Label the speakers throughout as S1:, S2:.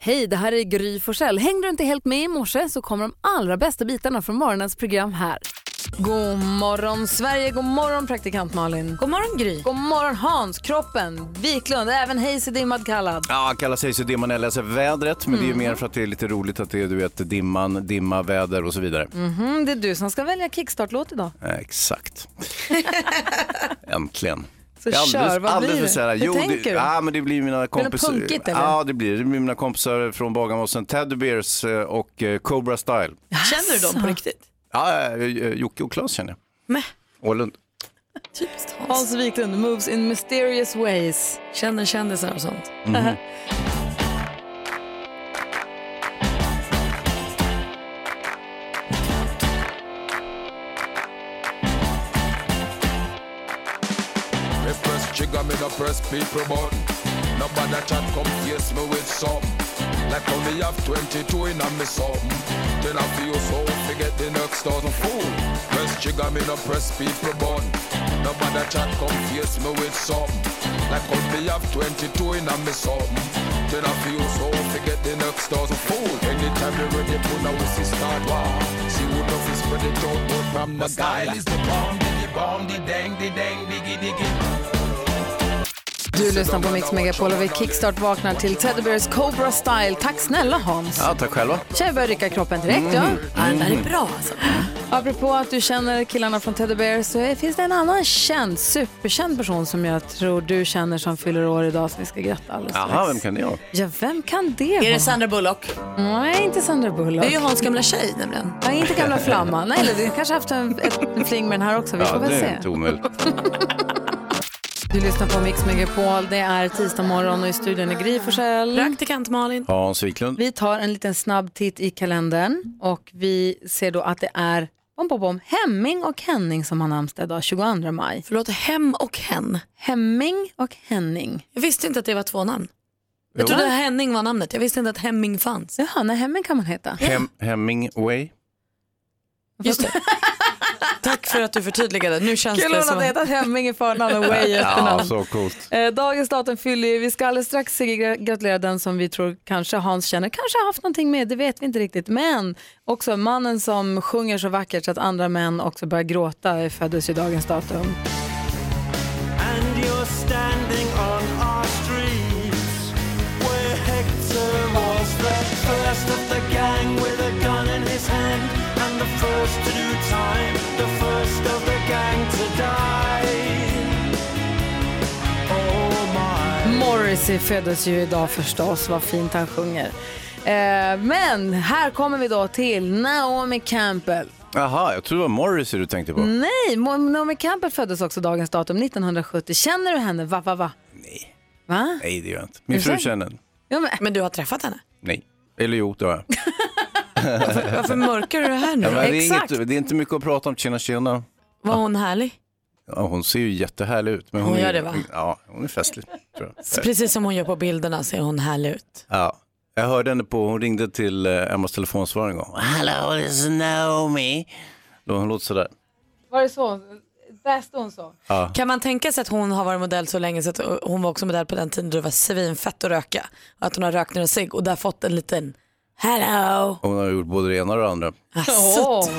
S1: Hej, det här är Gry Forssell. Hängde du inte helt med i morse så kommer de allra bästa bitarna från morgonens program här. God morgon Sverige, god morgon praktikant Malin.
S2: God morgon Gry.
S1: God morgon Hans, kroppen, Wiklund, även Hayes är dimmad kallad.
S3: Ja, kallar sig så dimma när jag läser vädret, men det är
S1: Mm.
S3: ju mer för att det är lite roligt att det är du vet, dimman, dimma, väder och så vidare.
S1: Mhm, det är du som ska välja kickstart-låt idag.
S3: Eh, Exakt. Äntligen.
S1: Så
S3: Det är
S1: kör, vad blir
S3: alldeles för
S1: det?
S3: sällan.
S1: Hur
S3: Jo,
S1: tänker
S3: det,
S1: du?
S3: ja, men det blir mina kompisar.
S1: punkigt, eller?
S3: Ja, det blir, det blir mina kompisar från Bagarmossen, Teddy Bears eh, och eh, Cobra Style.
S2: Känner du dem på riktigt?
S3: Ja, eh, eh, Jocke och Claes känner
S2: Mäh.
S3: jag. Ålund.
S2: Typiskt Hans.
S1: Hans Wiklund, Moves in mysterious ways.
S2: Känner kändisar och sånt.
S4: Me press trigger, me no press people button. Nobody chat confuse me with something. Like only have 22 in a me something. Then I feel so forget the next thousand fool. Press trigger, me no press people button. Nobody chat confuse me with something. Like only have 22 in a me something. Then I feel so forget the next thousand fool. Anytime you ready, put now we see start war. See who does this spread it out but from the style is the bomb, diggy bomb, the dang, the dang, diggy diggy.
S1: Du lyssnar på Mix Megapol och vi kickstart vaknar till Teddy Bears Cobra Style. Tack snälla Hans. Mm.
S3: Ja, tack själva.
S1: Tja, jag börjar rycka kroppen direkt. Ja.
S2: Ja, det där är bra alltså.
S1: Apropå att du känner killarna från Teddy Bear så är- finns det en annan känd, superkänd person som jag tror du känner som fyller år idag som vi ska gratta alldeles
S3: Jaha,
S1: strax.
S3: vem kan det vara?
S1: Ja, vem kan det
S2: Är
S1: vara?
S2: det Sandra Bullock?
S1: Nej, inte Sandra
S2: Det
S1: Bullock.
S2: är ju Hans gamla tjej nämligen.
S1: Ja, inte gamla flamman. Nej, eller du kanske haft en, ett, en fling med den här också. Vi
S3: Ja,
S1: får väl
S3: det
S1: se.
S3: är inte omöjligt.
S1: Du lyssnar på Mix Megapol. Det är tisdag morgon och i studion är Gry Forssell.
S2: Praktikant Malin.
S3: Hans Wiklund.
S1: Vi tar en liten snabb titt i kalendern och vi ser då att det är bom, bom, bom, Hemming och Henning som har namnsdag idag, 22 maj.
S2: Förlåt, Hem och Hen.
S1: Hemming och Henning.
S2: Jag visste inte att det var två namn.
S3: Jo.
S2: Jag trodde att Henning var namnet. Jag visste inte att Hemming fanns.
S1: Jaha, nej, Hemming kan man heta.
S3: Hem, Hemingway.
S2: Just det. Tack för att du förtydligade. Nu känns
S1: Kul
S2: det
S1: att
S2: som...
S1: hade hetat Hemming i förnamn och Way i
S3: Ja,
S1: efternamn.
S3: så Alltså, coolt.
S1: Eh, Dagens datum fyller ju, vi ska alldeles strax gra- gratulera den som vi tror kanske Hans känner, kanske har haft någonting med, det vet vi inte riktigt. Men också mannen som sjunger så vackert så att andra män också börjar gråta eh, föddes ju dagens datum.
S5: And you're standing on our streets where Hector was the first of the gang with a gun in his hand and the first to do time, the first of the gang to die. Oh my.
S1: Morrissey föddes ju idag förstås, vad fint han sjunger. Eh, men här kommer vi då till Naomi Campbell.
S3: Jaha, jag trodde det var Morrissey du tänkte på.
S1: Nej, Mo- Naomi Campbell föddes också dagens datum 1970. Känner du henne? Va, va, va?
S3: Nej.
S1: Va?
S3: Nej, det gör jag inte. Min
S1: Är du
S3: fru
S1: säker?
S3: känner den.
S1: Ja, men,
S2: Men du har träffat henne.
S3: Nej. Eller jo, det har jag.
S2: Varför mörkar du det här nu?
S3: Ja,
S2: då?
S3: men det, är
S1: Exakt.
S3: inget, det är inte mycket att prata om. Tjena, tjena.
S2: Var hon härlig?
S3: Ja, hon ser ju jättehärlig ut. Men hon,
S2: Hon
S3: är,
S2: gör det, va?
S3: Ja, hon är festlig. Tror jag.
S2: Precis som hon gör på bilderna ser hon härlig ut.
S3: Ja. Jag hörde henne på, hon ringde till eh, Emmas telefonsvarare en gång. Hello, this is Naomi. Då Hon låter sådär.
S1: var det så? Bäst hon så?
S2: Kan man tänka sig att hon har varit modell så länge så att hon var också modell på den tiden då det var svinfett att röka. Och att hon har rökt några cigg och där fått en liten hello.
S3: Hon har gjort både det ena och det andra.
S2: Alltså,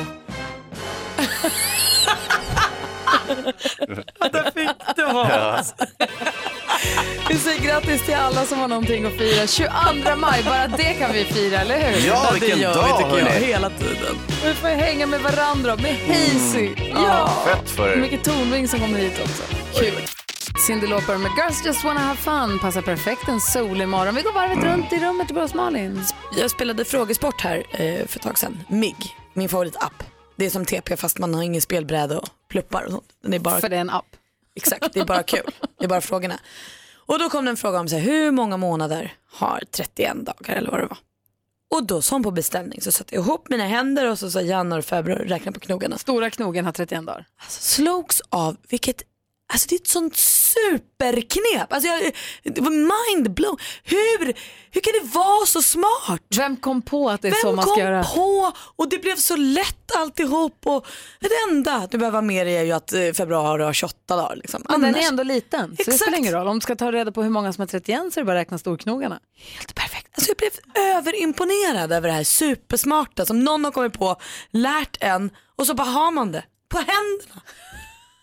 S1: Vi säger grattis till alla som har någonting att fira. 22 maj, bara det kan vi fira, eller hur?
S3: Ja, vilken dag hörni.
S2: hela tiden.
S1: Vi får hänga med varandra, med Hazy.
S3: Mm.
S1: Ja!
S3: Fett för er.
S1: Mycket Tornving som kommer hit också. Kul. Cyndi Lauper med Girls Just Wanna Have Fun passar perfekt en solig morgon. Vi går varvet runt i rummet till oss Malin.
S2: Jag spelade frågesport här eh, för ett tag sedan. MIG, min favoritapp. Det är som TP fast man har ingen spelbräda och pluppar och sånt. Det är bara,
S1: För det är en app.
S2: exakt, det är bara kul. Det är bara frågorna. Och då kom det en fråga om så här, hur många månader har 31 dagar eller vad det var. Och då som på beställning så satte jag ihop mina händer och så sa januari, februari och räknade på knogarna.
S1: Stora knogen har 31 dagar.
S2: Alltså, slogs av vilket Alltså det är ett sånt superknep. Alltså jag, det var mindblown. Hur, hur kan det vara så smart?
S1: Vem kom på att det är så
S2: Vem
S1: man ska
S2: kom
S1: göra?
S2: på? Och det blev så lätt alltihop. Och det enda du behöver ha med dig är ju att eh, februari har 28 dagar. Liksom.
S1: Men den
S2: Annars-
S1: är ändå liten, så det
S2: Exakt.
S1: spelar ingen roll. Om du ska ta reda på hur många som har 31 så är det bara att räkna storknogarna.
S2: Helt perfekt. Alltså jag blev överimponerad över det här supersmarta som någon har kommit på, lärt en och så bara har man det på händerna.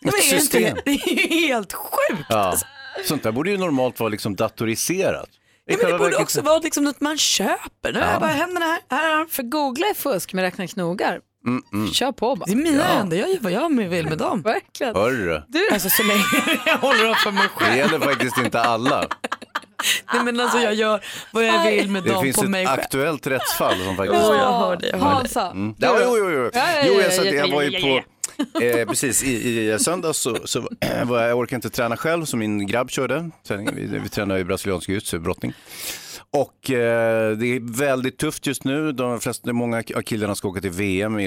S2: Det är, ju
S3: system.
S2: inte, det är ju helt sjukt.
S3: Ja. Sånt där borde ju normalt vara liksom datoriserat. I
S2: Ja, men
S3: själva
S2: det borde
S3: verket-
S2: också vara liksom något man köper. Nu har jag bara händerna här. här är de.
S1: För googla är fusk med räkna knogar.
S3: Mm,
S1: Kör på
S2: det
S1: bara.
S2: är mina händer, jag gör vad jag vill med dem.
S1: Verkligen.
S3: Hörru,
S2: Alltså så länge jag håller dem för mig själv.
S3: det gäller faktiskt inte alla.
S2: Nej, men alltså jag gör vad jag vill med
S3: Det
S2: dem
S3: finns
S2: på
S3: ett
S2: mig själv.
S3: aktuellt rättsfall som faktiskt...
S2: Ja, jag hör det, jag hör det.
S1: Hansa.
S3: Mm. Ja, jo, jo, jo.
S1: ja,
S3: jo
S1: ja,
S3: jag, satt,
S1: ja,
S3: jag
S1: ja,
S3: var
S1: ja,
S3: ju på... Eh, precis, i, i söndags så, så var jag, jag orkade inte träna själv så min grabb körde. Träningen. Vi, vi tränade ju brasiliansk jiu-jitsu, brottning. Och eh, det är väldigt tufft just nu. De flesta, många av killarna ska åka till VM i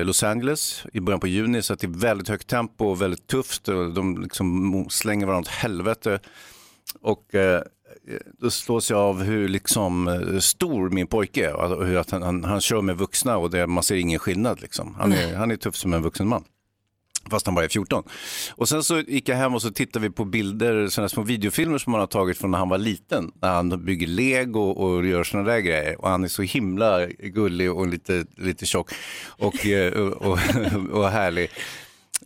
S3: eh, Los Angeles i början på juni så att det är väldigt högt tempo och väldigt tufft. Och de liksom slänger varandra åt helvete. Och eh, då slås jag av hur liksom eh, stor min pojke är och att- och hur att han, han, han kör med vuxna och det, man ser ingen skillnad. Liksom. Han, är, han är tuff som en vuxen man. Fast han bara är 14. Och sen så gick jag hem och så tittade vi på bilder, sådana små videofilmer som han har tagit från när han var liten. När han bygger lego och gör sådana där grejer. Och han är så himla gullig och lite, lite tjock och, eh, och, och, och härlig.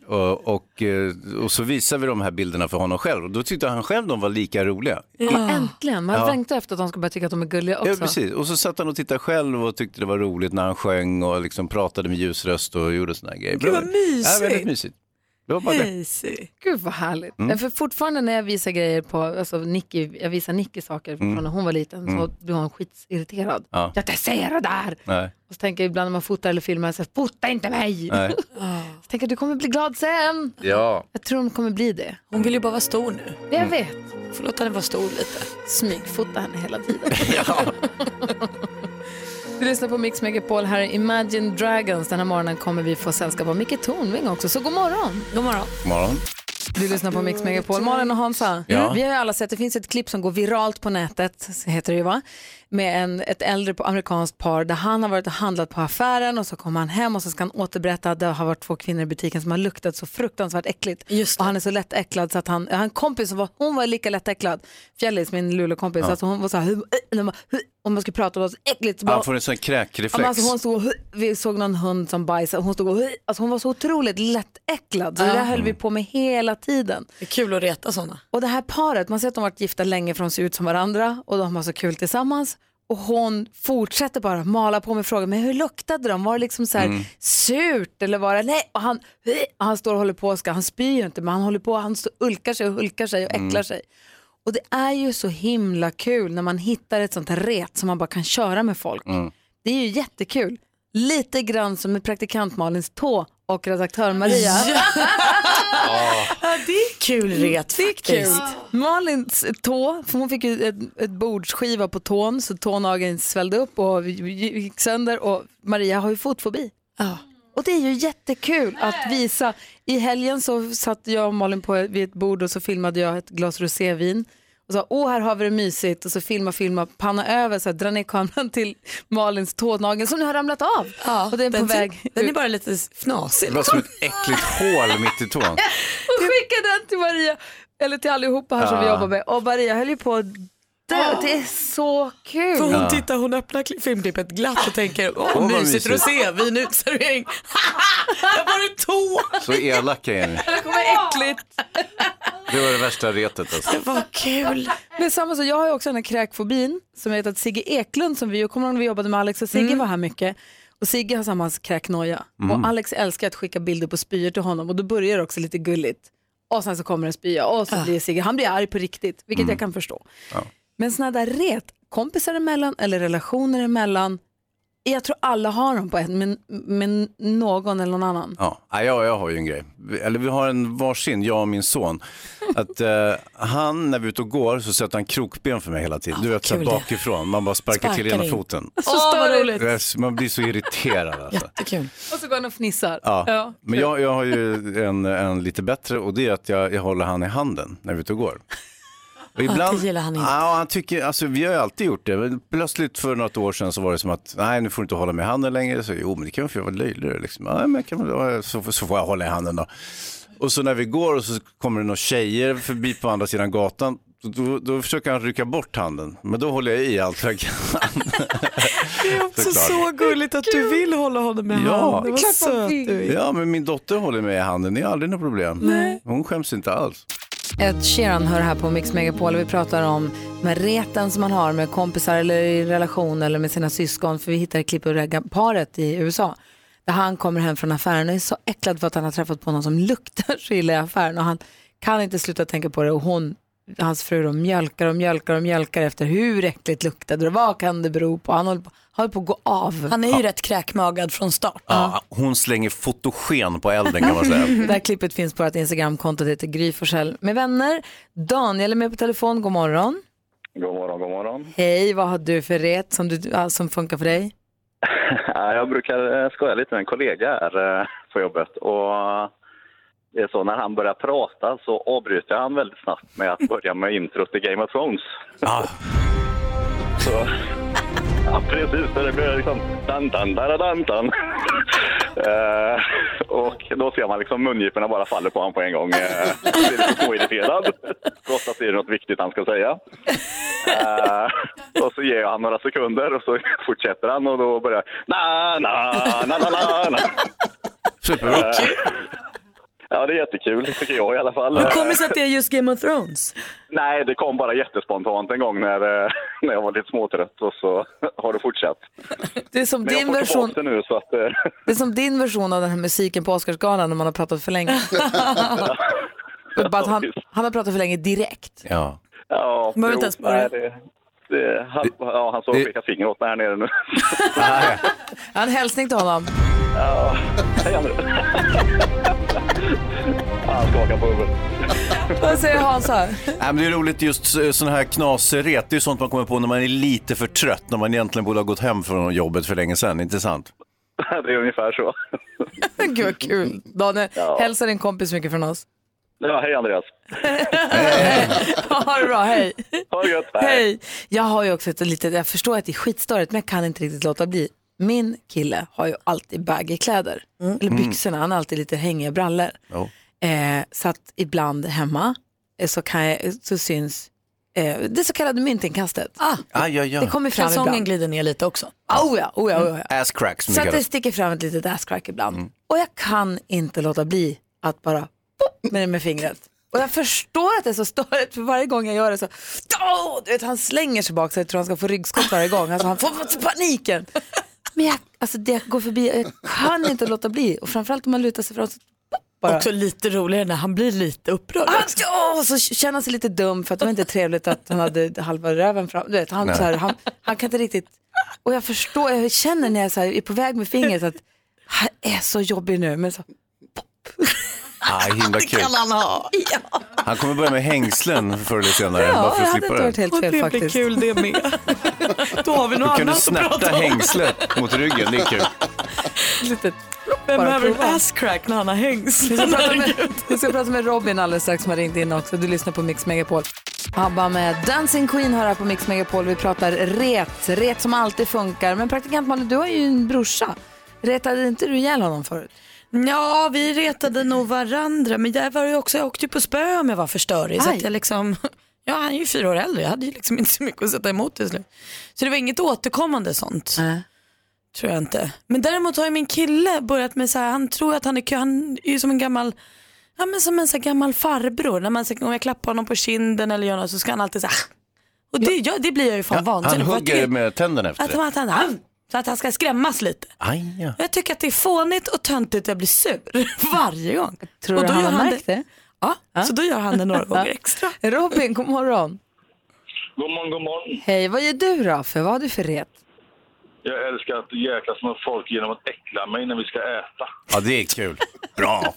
S3: Och, och, eh, och så visade vi de här bilderna för honom själv och då tyckte han själv de var lika roliga.
S1: Äntligen, man längtar efter att de ska börja tycka att de är gulliga också.
S3: Ja, precis. Och så satt han och tittade själv och tyckte det var roligt när han sjöng och liksom pratade med ljusröst och gjorde såna här grejer. Gud
S2: vad mysigt.
S3: Ja, väldigt mysigt. Det var bara det.
S2: Easy.
S1: Gud vad härligt.
S3: Mm.
S1: Ja, För fortfarande när jag visar grejer på, alltså Nicky, jag visar Nicky saker från när hon var liten så blir hon skitirriterad.
S3: Mm. Ja.
S1: Jag inte ser det där!
S3: Nej,
S1: Och så tänker jag ibland när man fotar eller filmar, så här, fota inte mig!
S3: nej.
S1: Så tänker jag, du kommer bli glad sen.
S3: Ja.
S1: Jag tror hon kommer bli det.
S2: Hon vill ju bara vara stor nu.
S1: Det
S3: Mm.
S1: jag vet.
S2: Får låta henne vara stor lite.
S1: Smygfota henne hela tiden. Du lyssnar på Mix Megapol, här är Imagine Dragons. Den här morgonen kommer vi få sällskap av Micke Tornving också, så god morgon!
S2: God morgon.
S3: God morgon.
S1: Du lyssnar på Mix Megapol. Malin och Hansa,
S3: Ja.
S1: vi har ju alla sett, det finns ett klipp som går viralt på nätet, så heter det ju va? Med en, ett äldre amerikanskt par där han har varit och handlat på affären och så kommer han hem och så ska han återberätta att det har varit två kvinnor i butiken som har luktat så fruktansvärt äckligt.
S2: Just det.
S1: och han är så lättäcklad så att han, jag har en kompis som var, hon var lika lättäcklad, Fjällis, min luleåkompis, så alltså hon var så här, hur, hur, hur, om man skulle prata om det var så äckligt. Så bara,
S3: Han får en sån här
S1: Ja, men
S3: kräkreflex.
S1: alltså hon stod och, hu- vi såg någon hund som bajsade och hon stod och, hu- alltså hon var så otroligt lättäcklad. Så det där höll vi på med hela tiden.
S2: Det är kul att reta sådana.
S1: Och det här paret, man ser att de har varit gifta länge för de ser ut som varandra och de har så kul tillsammans. Och hon fortsätter bara mala på med frågan, men hur luktade de? Var det liksom så här surt eller var det, nej, och han, och han står och håller på och ska, han spyr ju inte men han håller på, han står, ulkar sig och hulkar sig och äcklar sig. Och det är ju så himla kul när man hittar ett sånt här ret som man bara kan köra med folk. Det är ju jättekul. Lite grann som med praktikant Malins tå och redaktör Maria.
S2: Ja, det är Mm. kul ret
S1: Det är kul.
S2: faktiskt.
S1: Malins tå, för hon fick ju ett, ett bordsskiva på tån så tånageln svällde upp och gick sönder och Maria har ju fotfobi.
S2: Ja.
S1: Och det är ju jättekul att visa. I helgen så satt jag och Malin på, vid ett bord och så filmade jag ett glas rosévin och sa åh här har vi det mysigt och så filma, filma, panna över så här, dra ner kameran till Malins tånagel som nu har ramlat av.
S2: Ja,
S1: och den är på väg
S2: Den
S1: ut.
S2: är bara lite fnasig.
S3: Det var som ett äckligt hål mitt i tån.
S1: och skicka den till Maria, eller till allihopa här som vi
S3: Ja.
S1: jobbar med. Och Maria höll ju på att dö. Det är så kul.
S2: För hon tittar, hon öppnar kli- filmklippet glatt och tänker, åh
S3: vad
S2: mysigt
S3: mysigt."
S2: rosévin utservering. Där var det tå.
S3: Så elaka är ni.
S1: Det kommer äckligt.
S3: Det var det värsta retet alltså.
S2: Vad kul.
S1: Men samma så, jag har ju också den här kräkfobin som jag vet att Sigge Eklund som vi, kommer ihåg när vi jobbade med Alex och
S3: Mm.
S1: Sigge var här mycket. Och Sigge har samma kräknoja. Och Alex älskar att skicka bilder på spyor till honom och då börjar det också lite gulligt. Och sen så kommer en spya och
S3: Ah.
S1: så blir Sigge, han blir arg på riktigt, vilket
S3: Mm.
S1: jag kan förstå. Men sådana där ret, kompisar emellan eller relationer emellan, jag tror alla har dem på ett, men, men någon eller någon annan.
S3: Ja, ja, jag, jag har ju en grej. Vi- Eller vi har en varsin, jag och min son. Att eh, han, när vi är ute och går, så sätter han krokben för mig hela tiden. du vet, så här
S2: kul det.
S3: bakifrån. Man bara sparkar,
S2: Sparkar
S3: till ena
S2: in.
S3: foten.
S2: Åh, vad roligt.
S3: Alltså, Det är- Man blir så irriterad alltså.
S2: Jättekul.
S1: Och så går han och fnissar.
S3: Ja. Men jag, jag har ju en, en lite bättre och det är att jag, jag håller han i handen när vi är ute och går. Och
S2: det gillar han inte.
S3: Ja, han tycker, alltså, vi har ju alltid gjort det. Men plötsligt för något år sedan så var det som att nej, nu får du inte hålla mig i handen längre. Så, jo, men det kan väl för jag vara löjlig. Liksom. Ja, men jag kan, väl- så, så får jag hålla i handen då. Och så när vi går och så kommer det några tjejer förbi på andra sidan gatan Då, då försöker han rycka bort handen, men då håller jag i allt jag kan.
S2: Det är också
S3: Såklart.
S2: så gulligt att du vill hålla honom med
S3: Ja.
S2: handen. Vad
S1: Det är klart man
S2: söt
S1: vill.
S2: du är.
S3: Ja, men min dotter håller mig i handen, det är aldrig något problem. Hon skäms inte alls.
S1: Ed Sheeran hör här på Mix Megapol och vi pratar om de här reten som man har med kompisar eller i relation eller med sina syskon. För vi hittade klipp ur det här paret i USA där han kommer hem från affären och är så äcklad för att han har träffat på någon som luktar så illa i affären och han kan inte sluta tänka på det och hon, hans fru då, mjölkar och mjölkar och mjölkar efter hur äckligt luktade det vad kan det bero på? Han håller på, håller på att gå av.
S2: Han är ju rätt kräkmagad från start.
S3: Ja, hon slänger fotogen på elden kan man säga.
S1: Det här klippet finns på vårt Instagramkonto, det heter Gry Forssell med vänner. Daniel är med på telefon, god morgon.
S6: God morgon, god morgon.
S1: Hej, vad har du för ret som, du, ja, som funkar för dig?
S6: Ja, Jag brukar eh, skoja lite med en kollega här eh, på jobbet. Och eh, det är så, när han börjar prata så avbryter han väldigt snabbt med att börja med introt till Game of Thrones.
S3: Ja,
S6: Så, ja, precis. Så Det blir liksom dan dan dan dan dan Eh, Och då ser man liksom mungiporna bara faller på honom på en gång. Eh, Blir lite småirriterad. Trots att det är något viktigt han ska säga. Eh, och så ger jag han några sekunder och så fortsätter han och då börjar na na na na na na.
S3: superbra.
S6: Ja, det är jättekul, tycker jag i alla fall. Eh,
S2: Hur kommer det sig att det är just Game of Thrones?
S6: Nej, det kom bara jättespontant en gång när, eh, när jag var lite småtrött och så har det fortsatt.
S1: Det är som,
S6: Men jag
S1: din
S6: får
S1: version,
S6: tillbaka det nu så att... eh,
S1: det är som din version av den här musiken på Oscarsgalan när man har pratat för länge. Bara att han, han har pratat för länge direkt.
S3: Ja.
S6: Ja,
S2: Man
S6: jo,
S2: behöver inte ens börja.
S6: nej, det, det, han, ja, han såg
S3: det-
S6: peka finger åt mig här nere nu.
S1: Jag har en hälsning till honom.
S6: Ja, hej André. Han skakar på huvudet.
S1: Vad säger Hansa?
S3: Nej, men det är roligt just eh, såna här knasret. Det är ju sånt man kommer på när man är lite för trött, när man egentligen borde ha gått hem från jobbet för länge sedan, inte sant?
S6: Det är ungefär så.
S1: Gud vad kul. Daniel, hälsa din kompis mycket från oss.
S6: Ja, hej Andreas.
S1: Ha det bra, hej.
S6: Ha det gött.
S1: Hej! Jag har ju också ett litet, jag förstår att det är skitstörigt men jag kan inte riktigt låta bli. Min kille har ju alltid baggy kläder, eller byxorna, han har alltid lite hängiga brallor.
S3: Ja.
S1: Eh, så att ibland hemma eh, så, kan jag, så syns eh, det så kallade myntinkastet.
S2: Ah,
S3: Aj, aj,
S1: Det
S3: aj.
S1: kommer fram
S2: kalsongen
S1: ibland.
S2: glider ner lite också.
S1: Ah, Oh ja, oh ja, oh ja.
S3: Ass cracks, som
S1: Så
S3: det
S1: att det
S3: kallas.
S1: sticker fram ett litet asscrack ibland. Och jag kan inte låta bli att bara pop med det med fingret. Och jag förstår att det är så störigt för varje gång jag gör det så, Åh! du vet han slänger sig bak så jag tror han ska få ryggskott varje gång. Alltså han får paniken. Men jag, alltså det går förbi, jag kan inte låta bli. Och framförallt om man lutar sig fram så pop, bara.
S2: Också lite roligare när han blir lite upprörd.
S1: Han, åh, så känner han sig lite dum för att det var inte trevligt att han hade halva röven fram. Du vet, han,
S3: Nej.
S1: så här, han, han kan inte riktigt, och jag förstår, jag känner när jag så här, är på väg med fingret att han är så jobbig nu. Men så,
S3: Aj, himla kul.
S2: han ha.
S3: Han kommer börja med hängslen förr eller senare, bara
S1: ja,
S3: för
S1: det
S3: att
S1: hade
S3: slippa
S1: inte varit
S3: det.
S1: helt fel
S2: det blir
S1: faktiskt.
S2: kul det med. Då har vi något
S3: Då kan du
S2: annat att
S3: snärta
S2: prata om.
S3: hängslet mot ryggen, det är kul.
S1: Litet-
S2: Vem
S1: Bara
S2: behöver en
S1: prova.
S2: asscrack när han har hängs?
S1: Vi ska, prata med, vi ska prata med Robin alldeles strax som har ringt in också. Du lyssnar på Mix Megapol. Abba med Dancing Queen hör här på Mix Megapol. Vi pratar ret, ret som alltid funkar. Men praktikant Malin, du har ju en brorsa. Retade inte du ihjäl honom förut?
S2: Ja, vi retade nog varandra, men där var det ju också, jag åkte ju på spö om jag var för störig. Så
S1: Aj.
S2: att jag liksom, ja, han är ju fyra år äldre, jag hade ju liksom inte så mycket att sätta emot till slut. Så det var inget återkommande sånt, tror jag inte. Men däremot har ju min kille börjat med så här, han tror att han är kul, han är ju som en gammal Ja men som en så här gammal farbror, när man, så- om jag klappar honom på kinden eller gör något så ska han alltid så här. "Ah." Och det, ja, det blir jag ju fan
S3: Han
S2: vansinnig för. Jag
S3: hugger
S2: tycker
S3: med tänderna efter
S2: Att
S3: det.
S2: han, att han, så att han ska skrämmas lite.
S3: Aj, ja.
S2: Jag tycker att det är fånigt och töntigt och jag blir sur varje gång.
S1: Tror
S2: och
S1: du
S2: då
S1: han
S2: gör
S1: har märkt
S2: det?
S1: det?
S2: Ja, så då gör han det några gånger extra.
S1: Robin, god morgon.
S7: God morgon, god morgon.
S1: Hej, vad gör du då? För vad har du för ret?
S7: Jag älskar att jäklas med folk genom att äckla mig när vi ska äta.
S3: ja, det är kul. Bra.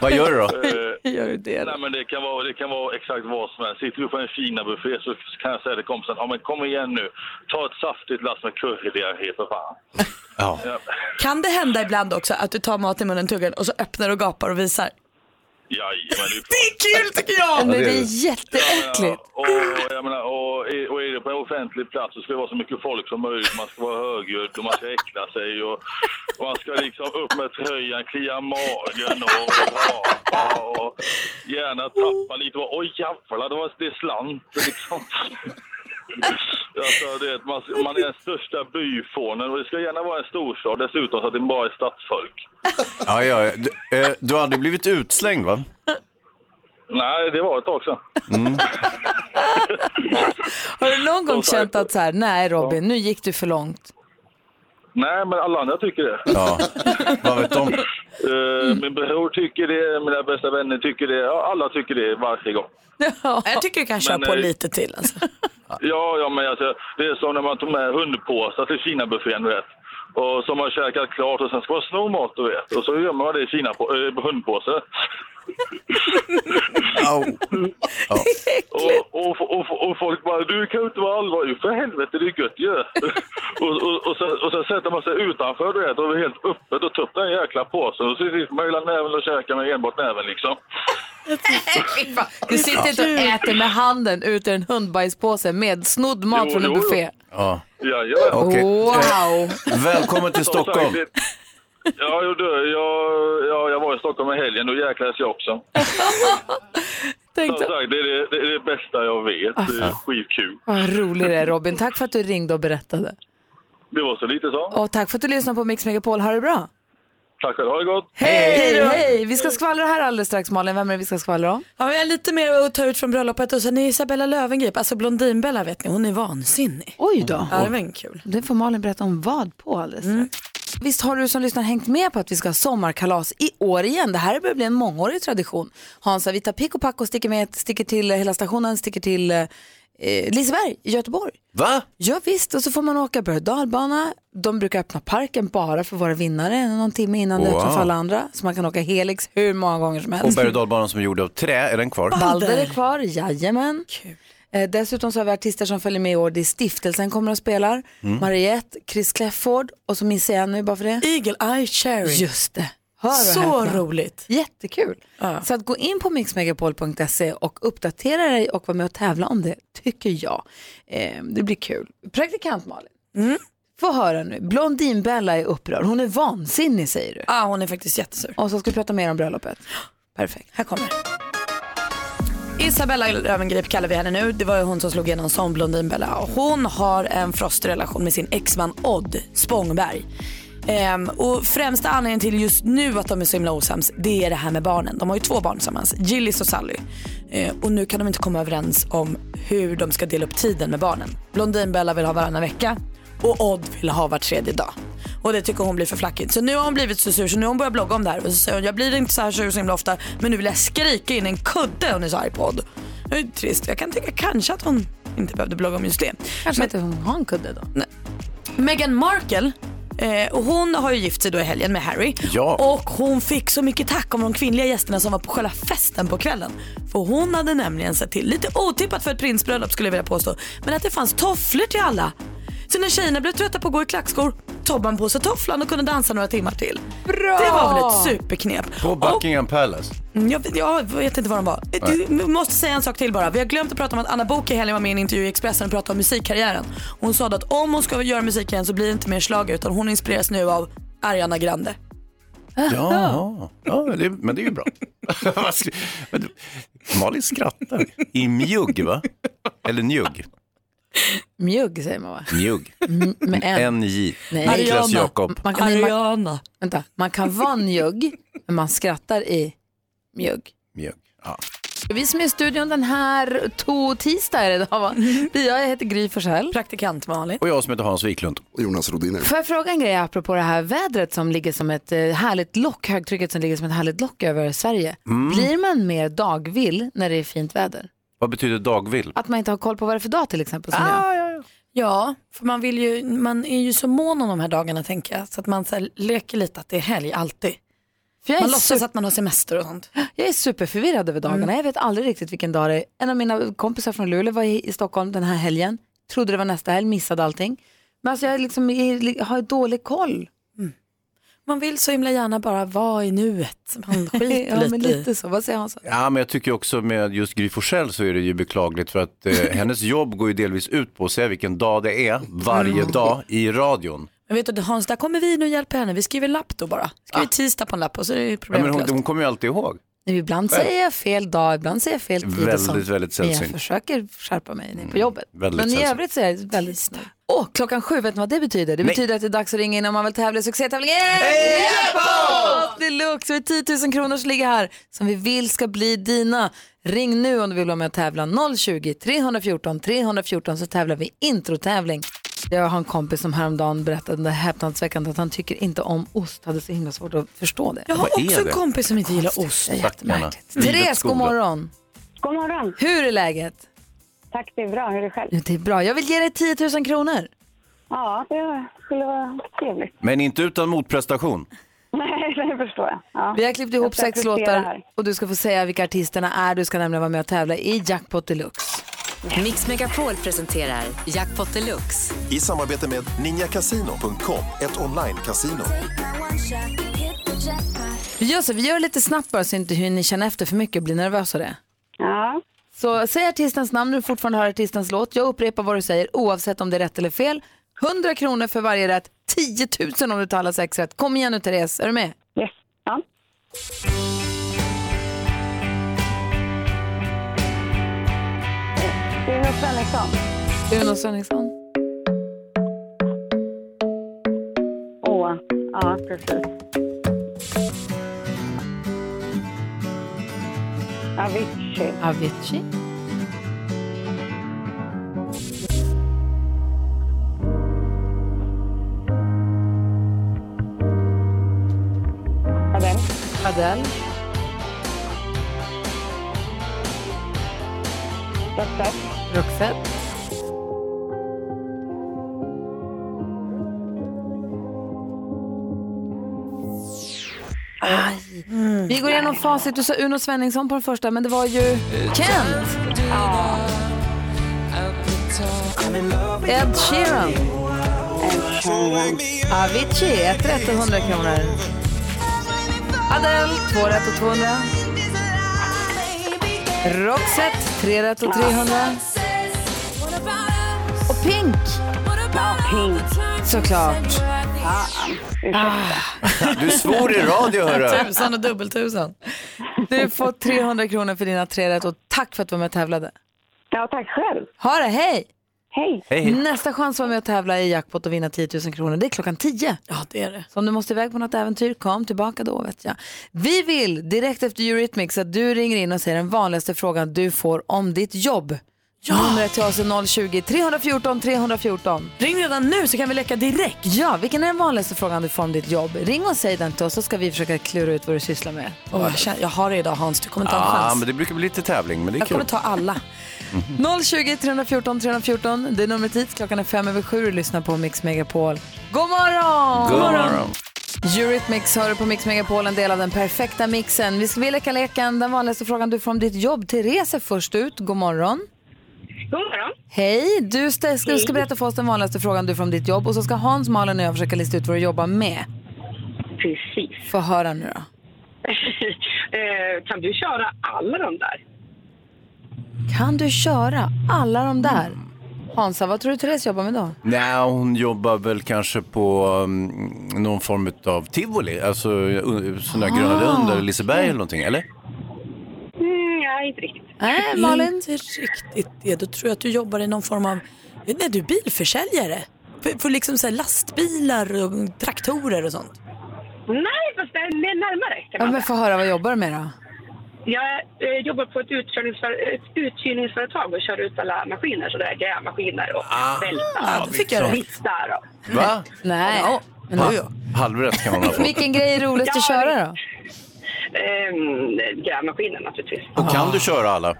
S3: Vad gör du då?
S7: Eh,
S1: Gör du det?
S7: nej, men det, kan vara, det kan vara exakt vad som helst. Sitter du på en fina buffé så kan jag säga till kompisen, ja, men kom igen nu, ta ett saftigt lass med currydiarré för fan.
S3: Ja.
S2: Kan det hända ibland också att du tar mat i munnen, tuggar den och så öppnar och gapar och visar?
S7: Jajamän, det
S2: Det
S7: är klart.
S2: är kul tycker jag!
S1: Men det
S3: det är
S1: är
S3: det.
S1: jätteäckligt.
S7: Och, jag menar, och, är- och är det på en offentlig plats så ska det vara så mycket folk som möjligt. Man ska vara högljudd och man ska äckla sig. Och, och man ska liksom upp med tröjan, klia magen och rapa och gärna tappa lite. Och, oj jävlar, det, var, det slant liksom. Alltså, det, är att man, man är den största byfånen och det ska gärna vara en storstad dessutom så att det bara är stadsfolk.
S3: Ja, ja. Du, eh, du har aldrig blivit utslängd va?
S7: Nej, det var ett tag sedan.
S1: Har du någon gång
S7: Som sagt-
S1: känt att så här, nej Robin, nu gick du för långt?
S7: Nej, men alla andra tycker det.
S3: Ja. Vad vet de?
S7: Eh, Min bror tycker det, mina bästa vänner tycker det, ja, alla tycker det varje gång.
S2: Jag tycker du kan köra
S7: Men,
S2: på
S7: eh,
S2: lite till alltså.
S7: Ja, ja men alltså, det är som när man tog med hundpåsar till Kinabuffén, du vet. Och som man käkat klart och sen ska man sno mat, du vet. Och så gömmer man det i Kina på, äh, hundpåse.
S3: Au.
S7: Och, och, och, och, och folk bara, du kan ju inte vara allvarlig, för helvete det är gött ju. och, och, och, sen, och sen sätter man sig utanför, du vet, och är helt öppet och tar upp den jäkla påsen. Och så sitter man hela näven och käkar med enbart näven liksom.
S1: Du sitter inte och äter med handen ut ur en hundbajspåse med snodd mat
S7: Jo,
S1: från en
S7: jo, jo.
S1: buffé.
S3: Ja.
S7: Jajamän.
S3: Okej.
S1: Wow!
S3: Eh, Välkommen till
S7: Som sagt,
S3: Stockholm.
S7: det- Ja, jag, dör. jag, ja, jag var i Stockholm i helgen, då jäklades jag också. Som
S1: Tänkte,
S7: sagt, det är det, det, är det bästa jag vet. Det är skitkul.
S1: vad rolig det är Robin. Tack för att du ringde och berättade.
S7: Det var så lite så.
S1: Och tack för att du lyssnade på Mix Megapol. Ha det bra.
S7: Tack själv, ha det gott!
S1: Hej, hej! Vi ska skvallra här alldeles strax Malin. Vem är det vi ska skvallra om?
S2: Ja, vi har lite mer att ta ut från bröllopet och sen är Isabella Löwengrip, alltså Blondinbella vet ni, hon är vansinnig.
S1: Oj då.
S2: Ja, det var en kul.
S1: Det får Malin berätta om vad på alldeles strax. Mm. Visst har du som lyssnar hängt med på att vi ska ha sommarkalas i år igen? Det här börjar bli en mångårig tradition. Hansa, vi tar pick och pack och sticker, med, sticker till eh, hela stationen, sticker till eh, Liseberg i Göteborg.
S3: Va?
S1: Ja visst, och så får man åka berg och dalbana. De brukar öppna parken bara för våra vinnare någon timme innan det
S3: Wow.
S1: öppnar för alla andra. Så man kan åka Helix hur många gånger som
S3: Och
S1: helst.
S3: berg och dalbanan som är gjord av trä, är den kvar?
S1: Balder är kvar, jajamän. Eh, dessutom så har vi artister som följer med i år. Det är Stiftelsen kommer och spelar.
S2: Mm.
S1: Mariette, Chris Clefford och så minns jag en nu bara för det.
S2: Eagle Eye Cherry.
S1: Just det. Hör och
S2: Så
S1: häpna.
S2: roligt.
S1: Jättekul. Så att gå in på mixmegapol.se och uppdatera dig och vara med och tävla om det, tycker jag. Eh, det blir kul. Praktikant Malin,
S2: Mm.
S1: få höra nu. Blondinbella är upprörd. Hon är vansinnig säger du.
S2: ah, hon är faktiskt jättesur.
S1: Och så ska vi prata mer om bröllopet. Perfekt.
S2: Här kommer Isabella Löwengrip kallar vi henne nu. Det var ju hon som slog igenom som Blondinbella. Hon har en frostig relation med sin exman Odd Spångberg. Ehm, och främsta anledningen till just nu att de är så himla osams det är det här med barnen. De har ju två barn tillsammans, Gillis och Sally. Ehm, och nu kan de inte komma överens om hur de ska dela upp tiden med barnen. Blondinbella vill ha varannan vecka och Odd vill ha var tredje dag. Och det tycker hon blir för flackigt. Så nu har hon blivit så sur så nu har hon börjat blogga om det här. Och så säger hon, jag blir inte så här sur så himla ofta men nu vill jag skrika in en kudde under sin iPod. Det är ju trist. Jag kan tycka kanske att hon inte behövde blogga om just det.
S1: Kanske inte hon har en kudde då.
S2: Meghan Markle Eh, och hon har ju gift sig då i helgen med Harry.
S3: Ja.
S2: Och hon fick så mycket tack av de kvinnliga gästerna som var på själva festen på kvällen. För hon hade nämligen sett till, lite otippat för ett prinsbröllop skulle jag vilja påstå, men att det fanns tofflor till alla. Så när tjejerna blev trötta på att gå i klackskor tog man på sig tofflan och kunde dansa några timmar till. Bra! Det var väl ett superknep.
S3: På
S2: Och-
S3: Buckingham Palace.
S2: Mm, Jag, jag vet inte vad de var. Du måste säga en sak till bara. Vi har glömt att prata om att Anna Book i helgen var med i en intervju i Expressen och pratade om musikkarriären. Hon sa att om hon ska göra musik igen så blir det inte mer schlager utan hon inspireras nu av Ariana Grande.
S3: Ja, ja det, men det är ju bra. Vad skri- men du- Malin skrattar. I mjugg, va? Eller njugg?
S1: Mjugg säger man va?
S3: Mjugg.
S1: Med en.
S3: NJ.
S1: Nej.
S3: Niklas
S2: Ariana.
S3: Jakob.
S1: Man kan, man,
S2: Ariana.
S1: vänta, man kan vara njugg, men man skrattar i mjugg.
S3: Mjugg. Ja.
S1: Vi som är i studion den här to tisdag är det idag va? Det är Jag jag heter Gry Forssell.
S2: Praktikant Malin.
S3: Och jag som heter Hans Wiklund.
S8: Jonas Rodiner.
S1: Får jag fråga en grej apropå det här vädret som ligger som ett eh, härligt lock, högtrycket som ligger som ett härligt lock över Sverige.
S2: Mm.
S1: Blir man mer dagvill när det är fint väder?
S3: Vad betyder dagvill?
S1: Att man inte har koll på vad det är för dag till exempel som ah.
S2: Ja, för man, vill ju, man är ju så mån om de här dagarna tänker jag. Så att man så här, leker lite att det är helg alltid.
S1: För jag är,
S2: Man låtsas
S1: su-
S2: att man har semester och sånt.
S1: jag är superförvirrad över dagarna.
S2: Mm.
S1: Jag vet aldrig riktigt vilken dag det är. En av mina kompisar från Luleå var i, i Stockholm den här helgen. Trodde det var nästa helg, missade allting. Men alltså jag är liksom, jag har dålig koll.
S2: man vill så himla gärna bara vara i nuet. Man skiter
S1: Ja, men
S2: lite i.
S1: lite så. Vad säger Hans?
S3: Ja, men jag tycker också med just Gry Forssell så är det ju beklagligt för att eh, hennes jobb går ju delvis ut på att säga vilken dag det är varje dag i radion.
S2: Mm. Men vet du Hans, där kommer vi nu och hjälper henne. Vi skriver en lapp då bara. Skriver tisdag på en lapp och så är det
S3: Ah. Ja, men
S2: problemet
S3: hon,
S2: löst.
S3: hon kommer ju alltid ihåg.
S1: Ibland säger jag fel dag, ibland säger jag fel tid. och
S3: Väldigt,
S1: sånt.
S3: väldigt
S1: Men Jag
S3: sällsynt. Mm.
S1: försöker skärpa mig när jag är på jobbet.
S3: väldigt
S1: Men i
S3: sällsynt.
S1: övrigt så är det väldigt snabbt. Åh, klockan sju, vet ni vad det betyder? Det betyder att det är dags att ringa in om man vill tävla i succétävlingen Jackpot Deluxe! Det är 10 000 kronor som ligger här som vi vill ska bli dina. Ring nu om du vill vara med och tävla 020-314 314 så tävlar vi introtävling. Jag har en kompis som häromdagen berättade det häpnadsväckande att han tycker inte om ost. Hade så himla svårt att förstå det.
S2: Jag har
S3: Vad är
S2: också en
S3: det?
S2: kompis som inte gillar ost.
S3: Stackarna. Livets
S1: Therese,
S3: skola.
S1: god morgon.
S8: God morgon.
S1: Hur är läget?
S8: Tack, det är bra. Hur är det själv?
S1: Det är bra. Jag vill ge dig 10 000 kronor.
S8: Ja, det skulle vara trevligt.
S3: Men inte utan motprestation.
S8: Nej, det förstår jag. Ja.
S1: Vi har klippt ihop
S8: Jag ska
S1: sex
S8: prestera
S1: låtar
S8: här.
S1: och du ska få säga vilka artisterna är. Du ska nämligen vara med och tävla i Jackpot Deluxe.
S9: Mix Megapol presenterar Jackpot Deluxe.
S10: I samarbete med ninjakasino.com, ett online-casino.
S1: Vi gör så, vi gör lite snabbt bara så inte ni känner efter för mycket och blir nervösa av det.
S8: Ja.
S1: Så säg artistens namn när du fortfarande hör artistens låt. Jag upprepar vad du säger oavsett om det är rätt eller fel. 100 kronor för varje rätt, 10 000 om du tar alla sex rätt. Kom igen nu Therese, är du med?
S8: Yes. Ja. Uno Svenningsson.
S1: Uno Svenningsson.
S8: Åh, ja precis. Avicii.
S1: Avicii.
S8: Adele.
S1: Adele.
S8: Roxette.
S1: Roxette. Aj. Vi går igenom facit. Du sa Uno Svenningsson på den första, men det var ju Kent. Ed Sheeran. Avicii, ett rätt och 100 kronor. Adele, två rätt och 200. Roxette, tre rätt och 300. Och Pink, såklart.
S3: Du svor i radio hörru.
S2: Tusan och dubbeltusan.
S1: Du får 300 kronor för dina tre rätt och tack för att du var med och tävlade.
S8: Ja, tack själv.
S1: Ha det, hej!
S8: Hej.
S2: Mm.
S3: Hej.
S1: Nästa chans att vara med och tävla i jackpot och vinna 10 000 kronor, det är klockan 10.
S2: Ja, det är det.
S1: Så om du måste iväg på något äventyr, kom tillbaka då vet jag. Vi vill direkt efter Eurythmics att du ringer in och säger den vanligaste frågan du får om ditt jobb. Numret till oss är 020-314 314.
S2: Ring redan nu så kan vi leka direkt.
S1: Ja, vilken är den vanligaste frågan du får om ditt jobb? Ring och säg den till oss så ska vi försöka klura ut vad du sysslar med.
S2: Åh, jag, känner, jag har det idag Hans, du kommer ta en
S3: Ja,
S2: chans.
S3: Ah, men det brukar bli lite tävling, men det är
S2: Jag
S3: kul.
S2: kommer ta alla.
S1: 020 314 314. Det är numret hit. Klockan är fem över sju och du lyssnar på Mix Megapol. God morgon!
S3: God morgon.
S1: Eurythmics hör du på Mix Megapol, en del av den perfekta mixen. Vi ska vi leka leken. Den vanligaste frågan du får om ditt jobb. Therese är först ut. God morgon.
S8: God morgon.
S1: Hej! Du ska, ska, ska berätta för oss den vanligaste frågan du får om ditt jobb och så ska Hans, Malin och jag försöka lista ut vad du jobbar med.
S11: Precis.
S1: Få höra nu då.
S11: Eh, kan du köra alla de där?
S1: Kan du köra alla de där? Hansa, vad tror du Therese jobbar med då?
S3: Nej, hon jobbar väl kanske på mm, någon form av tivoli, alltså uh, sådana där Gröna
S2: Ah.
S3: Lund eller Liseberg eller någonting, eller?
S11: Mm, nej, inte riktigt.
S1: Nej, Äh,
S2: Mm.
S1: Malin?
S2: Inte riktigt det. Då tror jag att du jobbar i någon form av, nej du är bilförsäljare. För, för liksom så här lastbilar och traktorer och sånt.
S11: Nej, fast det är närmare kan
S1: Ja,
S11: man
S1: men
S11: säga.
S1: få höra, vad jobbar du med då?
S11: Jag eh, jobbar på ett, utkörningsför- ett uthyrningsföretag och kör ut alla maskiner, så det är grävmaskiner och
S3: Ah.
S2: Ja,
S11: vältar
S2: då fick jag
S11: och
S2: rätt.
S11: hissar och...
S3: liksom. Va?
S1: Nej.
S2: Ja, men då ja.
S3: Halvrätt kan man ha fått.
S1: Vilken grej är roligast att
S11: Ja,
S1: köra då?
S11: Ehm, grävmaskiner naturligtvis.
S3: Och kan du köra alla?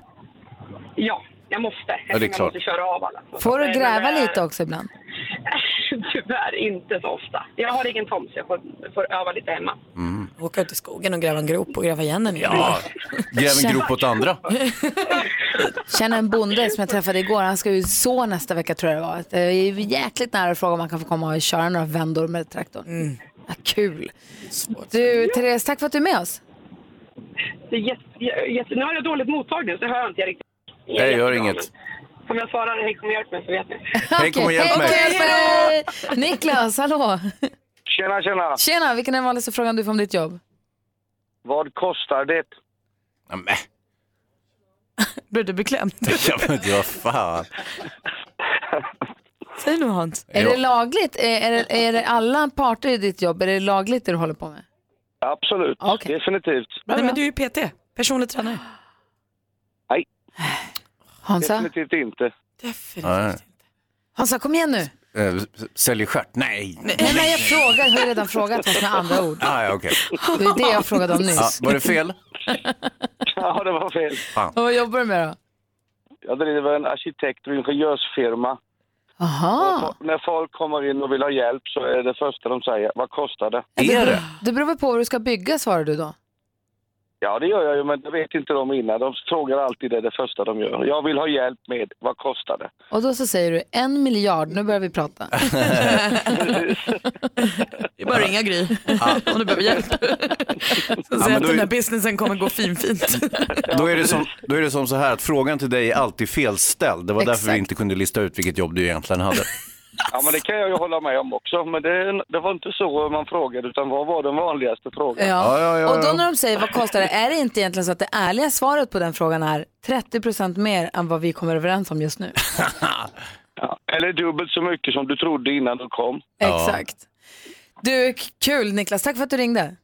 S11: Ja, jag måste.
S3: Ja, det är
S11: jag
S3: klart.
S11: måste köra av alla.
S1: Får du
S11: Eh,
S1: gräva
S11: men, eh,
S1: lite också ibland?
S11: Tyvärr inte så ofta. Jag har egen tomt så jag får, får öva lite hemma.
S2: Åka ut i skogen och gräva en grop och gräva igen den.
S3: Ja, gräv en
S1: Känn-
S3: grop åt andra.
S1: Känner en bonde som jag träffade igår, han ska ju så
S3: Mm.
S1: nästa vecka tror jag det var. Det är ju jäkligt nära att fråga om han kan få komma och köra några vändor med traktorn. Ja, kul. Du, Therese, tack för att du är med oss.
S11: Det är jätte, jätte, nu har jag dåligt mottagning så jag hör inte jag riktigt.
S3: Nej, gör inget.
S11: Om jag svarar hej kom och hjälp mig så vet ni.
S3: Hej, kom och hjälp mig.
S1: Hej, hej, hej. Niklas, hallå.
S12: Tjena, tjena.
S1: Tjena, vilken är den vanligaste frågan du får om ditt jobb?
S12: Vad kostar det?
S2: Blev du beklämd?
S3: Ja, men vad fan.
S2: Säg nu Hans.
S1: Är det lagligt? Är, är, det, är det alla parter i ditt jobb? Är det lagligt det du håller på med?
S12: Absolut, definitivt.
S2: Nej, men du är ju PT, personlig tränare.
S12: Nej,
S1: Hansa?
S12: definitivt inte.
S3: Nej.
S1: Hansa, kom igen nu.
S3: Eh, s- Säljer stjärt? Nej.
S1: Nej, nej, jag frågar. Jag har ju redan frågat oss med andra ord.
S3: Ah, ja, okej.
S1: Det är det jag frågade om nyss.
S3: Ja, var det fel?
S12: ja, det var fel.
S1: Och vad jobbar du med då?
S12: Jag driver en arkitekt och ingenjörsfirma.
S1: Aha.
S12: När folk kommer in och vill ha hjälp så är det första de säger, vad kostar det?
S1: Det beror väl på vad du ska bygga, svarar du då?
S12: Ja, det gör jag ju, men det vet inte de innan. De frågar alltid det, det första de gör. Jag vill ha hjälp med, vad kostar det?
S1: Och då så säger du en miljard, nu börjar vi prata.
S2: Det är bara att ringa Gry om du behöver hjälp. Så säg
S3: men
S2: att
S3: då
S2: den
S3: är-
S2: här businessen kommer gå finfint.
S3: Då är, det som, då är det som så här att frågan till dig är alltid felställd. Det var därför vi
S2: Exakt.
S3: inte kunde lista ut vilket jobb du egentligen hade.
S12: Ja, men det kan jag ju hålla med om också. Men det, det var inte så man frågade, utan vad var den vanligaste frågan?
S1: Och då när de säger vad kostar det, är det inte egentligen så att det ärliga svaret på den frågan är 30% mer än vad vi kommer överens om just nu?
S12: Ja, Eller dubbelt så mycket som du trodde innan du kom.
S1: Exakt. Du, k- kul Niklas, tack för att du ringde.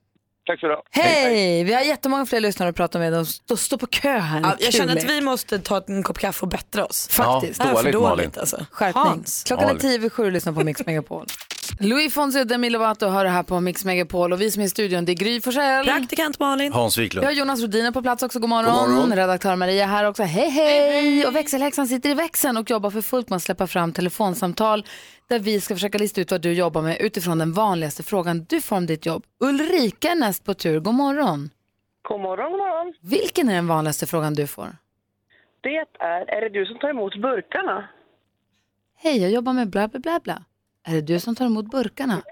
S12: Tack för det.
S1: Hej! Vi har jättemånga fler lyssnare att prata med, de står stå på kö här.
S2: Ja,
S1: Kul.
S2: jag känner att vi måste ta en kopp kaffe och bättra oss.
S1: Faktiskt.
S2: Det här är för dåligt alltså.
S1: alltså. Skärpning.
S2: Hans.
S1: Klockan är tio över sju och lyssnar på Mix Megapol. Louis Fonsi och Demi Lovato hör det här på Mix Megapol och vi som är i studion det är Gry Forssell.
S2: Praktikant Malin.
S3: Hans Wiklund.
S1: Vi har Jonas Rodiner på plats också, god morgon.
S3: God morgon.
S1: Redaktör Maria här också, hej hej. Och växelhäxan sitter i växeln och jobbar för fullt med att släppa fram telefonsamtal där vi ska försöka lista ut vad du jobbar med utifrån den vanligaste frågan du får om ditt jobb. Ulrika är näst på tur, god morgon.
S13: God morgon, god morgon.
S1: Vilken är den vanligaste frågan du får?
S13: Det är, är det du som tar emot burkarna?
S1: Hej, jag jobbar med bla bla bla bla. Är det du som tar emot burkarna?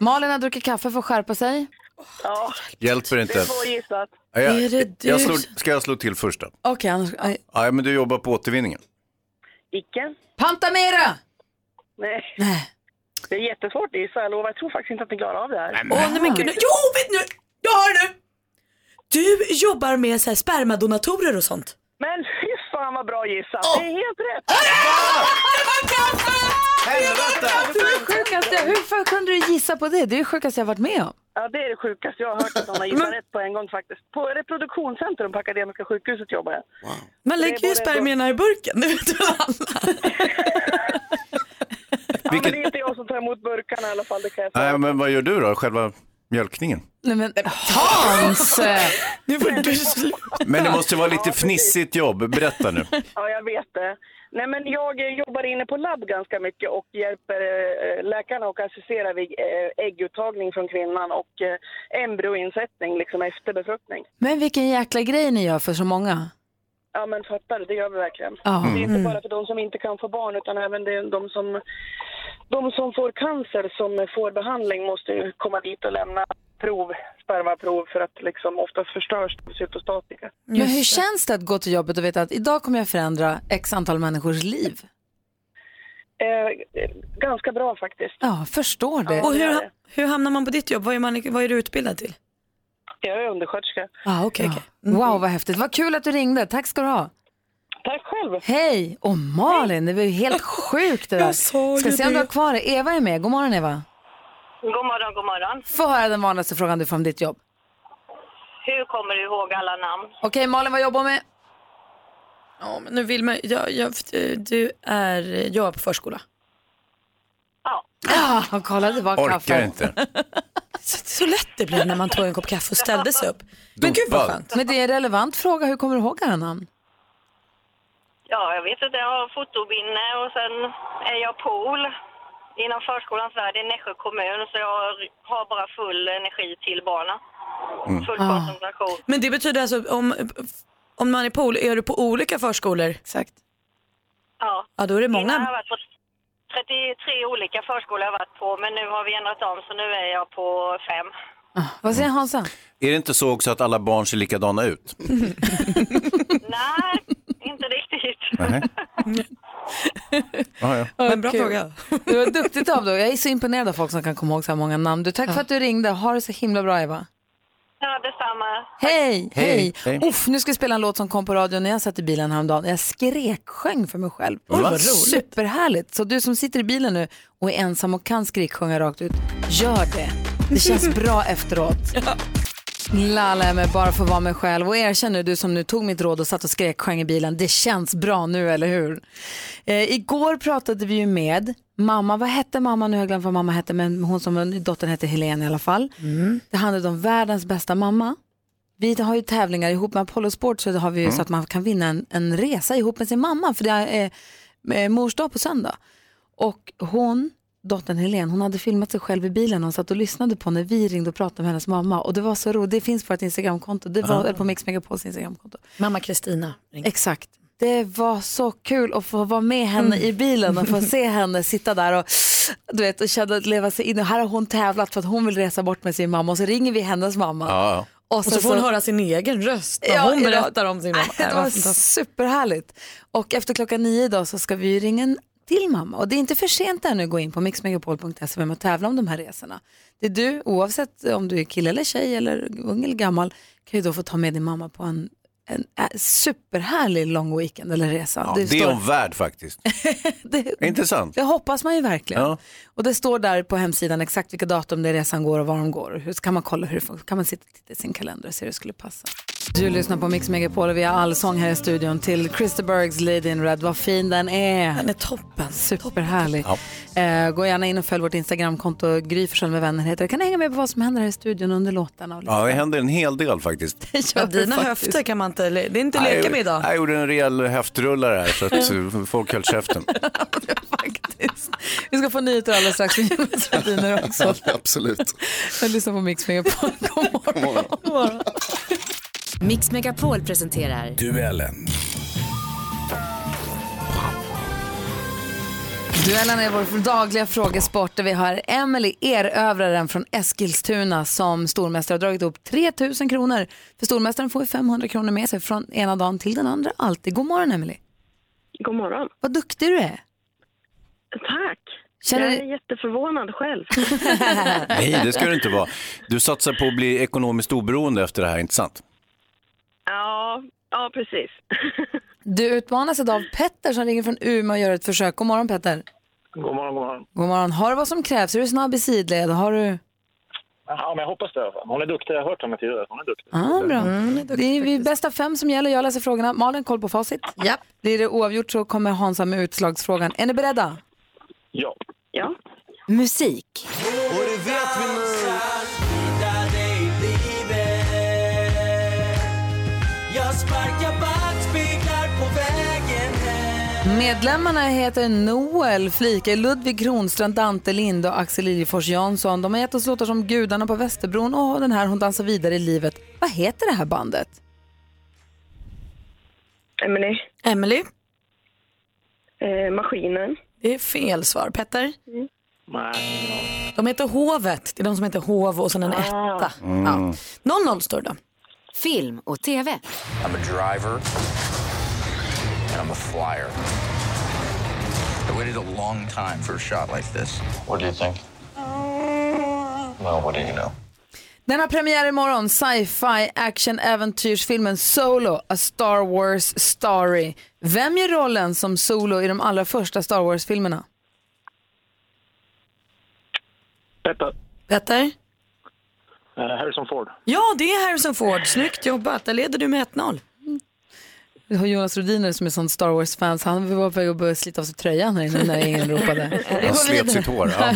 S1: Malin har druckit kaffe för att skärpa sig.
S13: Ja,
S3: Hjälper
S13: det
S3: inte.
S13: är svårgissat.
S3: Ja, Jag,
S1: Är det du
S3: jag slår,
S1: som-
S3: ska jag slå till första?
S1: Okej, annars... aj.
S3: Nej, men du jobbar på återvinningen.
S13: Icke.
S1: Pantamera!
S13: Nej. Det är jättesvårt att gissa, jag lovar. Jag tror faktiskt inte att ni klarar av det här.
S2: Åh nej men gud, nu- jo vet nu, jag har det nu! Du jobbar med så här spermadonatorer och sånt.
S13: Men fy fan vad bra gissat! Det är helt rätt!
S1: Det är det sjukaste, hur fan kunde du gissa på det? Det är det sjukaste jag varit med om.
S13: Ja, det är det sjukaste jag har hört att någon har gissat rätt på en gång faktiskt. På reproduktionscentrum på Akademiska sjukhuset jobbar jag. Det
S2: Man lägger ju
S13: borde ändå-
S2: spermierna i burken, det vet ju alla.
S13: Ja, men det är inte jag som tar emot burkarna i alla fall, det kan jag säga.
S3: Nej, men vad gör du då? Själva mjölkningen?
S1: Nej men Hans!
S2: nu får du sluta.
S3: Men det måste vara lite fnissigt jobb. Berätta nu.
S13: Ja, jag vet det. Nej, men jag eh, jobbar inne på labb ganska mycket och hjälper eh, läkarna och assisterar vid eh, ägguttagning från kvinnan och eh, embryoinsättning liksom efter befruktning.
S1: Men vilken jäkla grej ni gör för så många.
S13: Ja, men fattar du, det gör vi verkligen.
S1: Ja.
S13: Det är inte
S1: Mm.
S13: bara för de som inte kan få barn utan även det, de, som, de som får cancer som får behandling måste ju komma dit och lämna prov, spermaprov för att liksom oftast förstörs de cytostatika.
S1: Men hur känns det att gå till jobbet och veta att idag kommer jag förändra x antal människors liv?
S13: Eh, eh, ganska bra faktiskt.
S1: Ja, förstår det.
S2: Och hur, ha- hur hamnar man på ditt jobb? Vad är, man, vad är du utbildad till?
S13: Jag är undersköterska.
S1: Ah, okay, Wow, vad häftigt. Vad kul att du ringde. Tack ska du ha.
S13: Tack själv.
S1: Hej! Och Malin, det var ju helt sjukt det där.
S13: Jag såg
S1: Ska
S13: ju
S1: se om du har
S13: det.
S1: kvar det. Eva är med. God morgon Eva.
S14: God morgon, god morgon.
S1: Få höra den vanligaste frågan du får om ditt jobb.
S14: Hur kommer du ihåg alla namn?
S1: Okej, Malin, vad jobbar du med?
S2: Ja men nu vill man, jag, jag, du är, jag är på förskola.
S1: Ja, ah, kolla det var kaffe.
S3: inte.
S2: Så, så lätt det blev när man tog en kopp kaffe och ställde sig upp. Men gud vad skönt.
S1: Men det är en relevant fråga. Hur kommer du ihåg alla namn?
S14: Ja, jag vet inte. Jag har fotobinne och sen är jag pool inom förskolans värld i Nässjö kommun. Så jag har bara full energi till barnen. Full
S2: Ah.
S14: koncentration.
S2: Men det betyder alltså om, om man är på, ol- är du på olika förskolor?
S1: Exakt.
S14: Ja.
S2: Ja då är det
S14: Innan har jag
S2: många.
S14: varit på 33 olika förskolor har jag varit på, men nu har vi ändrat om så nu är jag på fem.
S1: Vad säger Hansa?
S3: Är det inte så också att alla barn ser likadana ut?
S14: Nej, inte riktigt.
S3: Nej. Ah, ja.
S2: Men bra
S1: Kul.
S2: fråga.
S1: Det var duktigt av dig. Jag är så imponerad av folk som kan komma ihåg så här många namn. Du, tack för att du ringde. Ha det så himla bra Eva.
S14: Ja, detsamma.
S1: Hej, hej.
S14: Hej,
S1: hej. Uff, nu ska vi spela en låt som kom på radion när jag satt i bilen häromdagen. Jag skreksjöng för mig själv.
S2: Oj, vad
S1: Det var
S2: roligt.
S1: Superhärligt. Så du som sitter i bilen nu och är ensam och kan skriksjunga rakt ut, gör det. Det känns bra efteråt. Lala är med bara för att vara mig själv och erkänn nu du som nu tog mitt råd och satt och skräcksjöng i bilen. Det känns bra nu, eller hur? Eh, igår pratade vi ju med mamma, vad hette mamma nu? har Jag glömt vad mamma hette, men hon som dottern hette Helene i alla fall. Det handlade om världens bästa mamma. Vi har ju tävlingar ihop med Apollo Sport så har vi ju
S15: Mm.
S1: så att man kan vinna en, en resa ihop med sin mamma för det är eh, mors dag på söndag. Och hon, dottern Helene, hon hade filmat sig själv i bilen och satt och lyssnade på när vi ringde och pratade med hennes mamma. Och det var så roligt, det finns på ett Instagramkonto, det var
S2: Ah.
S1: eller på Mix Megapols Instagramkonto.
S2: Mamma Kristina.
S1: Exakt. Det var så kul att få vara med henne
S2: Mm.
S1: i bilen och få se henne sitta där och, du vet, och känna att leva sig in. Och här har hon tävlat för att hon vill resa bort med sin mamma och så ringer vi hennes mamma.
S3: Ja.
S2: Och så, får hon höra sin egen röst när
S1: Ja,
S2: hon
S1: det var-
S2: berättar om sin mamma.
S1: Det
S2: var
S1: var
S2: fantastiskt.
S1: superhärligt. Och efter klockan nio idag så ska vi ju ringa en till mamma. Och det är inte för sent ännu att gå in på mixmegapol.se vem att tävla om de här resorna. Det är du, oavsett om du är kille eller tjej eller ung eller gammal, kan ju då få ta med din mamma på en, en äh, superhärlig lång weekend eller resa.
S3: Ja, det är hon värd faktiskt. Intressant.
S1: Det hoppas man ju verkligen.
S3: Ja.
S1: Och det står där på hemsidan exakt vilka datum det är resan går och var de går. Hur kan man kolla hur det funkar? Kan man sitta titta i sin kalender och se hur det skulle passa? Du lyssnar på Mix Megapol och vi har allsång här i studion till Christer Bergs Lady in Red. Vad fin den är. Den
S2: är toppen.
S1: Superhärlig. Eh, gå gärna in och följ vårt Instagramkonto, Gry Forssell med vänner heter det. Kan ni hänga med på vad som händer här i studion under låtarna? Och
S3: Ja, det händer en hel del faktiskt.
S1: Ja,
S2: dina
S1: faktiskt.
S2: höfter kan man inte, le- det är inte att
S3: Nej,
S2: leka med idag.
S3: Jag gjorde en rejäl höftrullare här så att eh, folk höll käften.
S1: Vi ska få nyheter alldeles strax med Jonas Rhodiner också.
S3: Absolut.
S1: Jag lyssnar på Mix Megapol. God morgon. God morgon.
S9: Mix Megapol presenterar
S16: Duellen.
S1: Duellen är vår dagliga frågesport där vi har Emily erövraren från Eskilstuna som stormästare har dragit upp 3000 kronor. För stormästaren får ju 500 kronor med sig från ena dagen till den andra alltid. God morgon Emily.
S8: God morgon.
S1: Vad duktig du är.
S8: Tack.
S1: Känner
S8: Jag
S1: du-
S8: är jätteförvånad själv.
S3: Nej, det ska det inte vara. Du satsar på att bli ekonomiskt oberoende efter det här, inte sant?
S8: ja, ja, precis.
S1: Du utmanas idag av Petter som ringer från Umeå och gör ett försök. God morgon Petter.
S17: God morgon, god morgon.
S1: God morgon. Har du vad som krävs? Är du snabb i sidled? Har du...
S17: Jaha, men jag hoppas det i alla fall. Hon är duktig, jag har hört henne tidigare. Hon är duktig.
S1: Ja, Ah, bra. Mm, det är vi bästa fem som gäller. Jag läser frågorna. Malin, koll på facit. Ja. Blir det oavgjort så kommer Hansa med utslagsfrågan. Är ni beredda?
S17: Ja.
S8: Ja.
S1: Musik.
S5: Och det vet vi nu. Jag sparkar backspeglar på vägen hem
S1: Medlemmarna heter Noel Flike, Ludvig Kronstrand, Dante Linde och Axel Liljefors Jansson. De har gett oss låtar som Gudarna på Västerbron och den här Hon dansar vidare i livet. Vad heter det här bandet?
S8: Emily.
S2: Emily.
S8: Eh, maskinen. Mm.
S2: Det är fel svar. Petter?
S17: Nej.
S2: De heter Hovet. Det är de som heter Hov och sen
S8: Ah.
S2: en etta. Ja. 0-0 står det då.
S9: film och tv.
S18: I'm a driver and I'm a flyer. I waited a long time for a shot like this. What do you think? Well, what do you know?
S1: Den har premiär imorgon, sci-fi action-äventyrsfilmen Solo, A Star Wars Story. Vem gör rollen som Solo i de allra första Star Wars-filmerna?
S17: Petter.
S2: Petter?
S17: Eh, Harrison Ford.
S2: Ja, det är Harrison Ford. Snyggt jobbat. Där leder du med 1-0.
S1: Vi har Jonas Rhodiner som är sån Star Wars-fans. Han var på väg att börja slita av sig tröjan här inne när ingen ropade. Vi går
S3: Han slet
S1: vidare.
S3: sitt hår. Ja.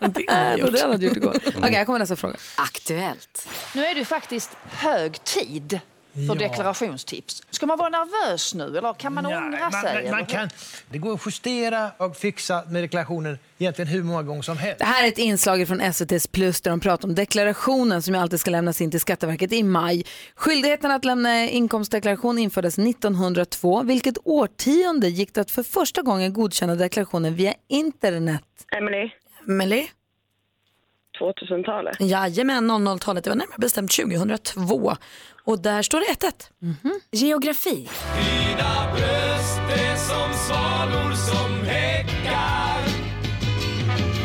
S1: Det var det han hade gjort igår. Okej, här kommer nästa fråga.
S9: Aktuellt.
S19: Nu är det ju faktiskt hög tid
S15: för
S16: Ja.
S15: deklarationstips. Ska man vara nervös nu eller kan man ångra
S16: man,
S15: sig?
S16: man, man
S15: eller?
S16: kan, det går att justera och fixa med deklarationen egentligen hur många gånger som helst.
S1: Det här är ett inslag från SVTs Plus där de pratar om deklarationen som ju alltid ska lämnas in till Skatteverket i maj. Skyldigheten att lämna inkomstdeklaration infördes 1902. Vilket årtionde gick det att för första gången godkänna deklarationen via internet?
S8: Emily.
S2: Emily?
S8: 2000-talet.
S2: Jajamän, 00-talet. Det var närmare bestämt 2002. Och där står det 1-1.
S1: Mhm.
S2: Geografi.
S5: Dina bröst är som svalor som häckar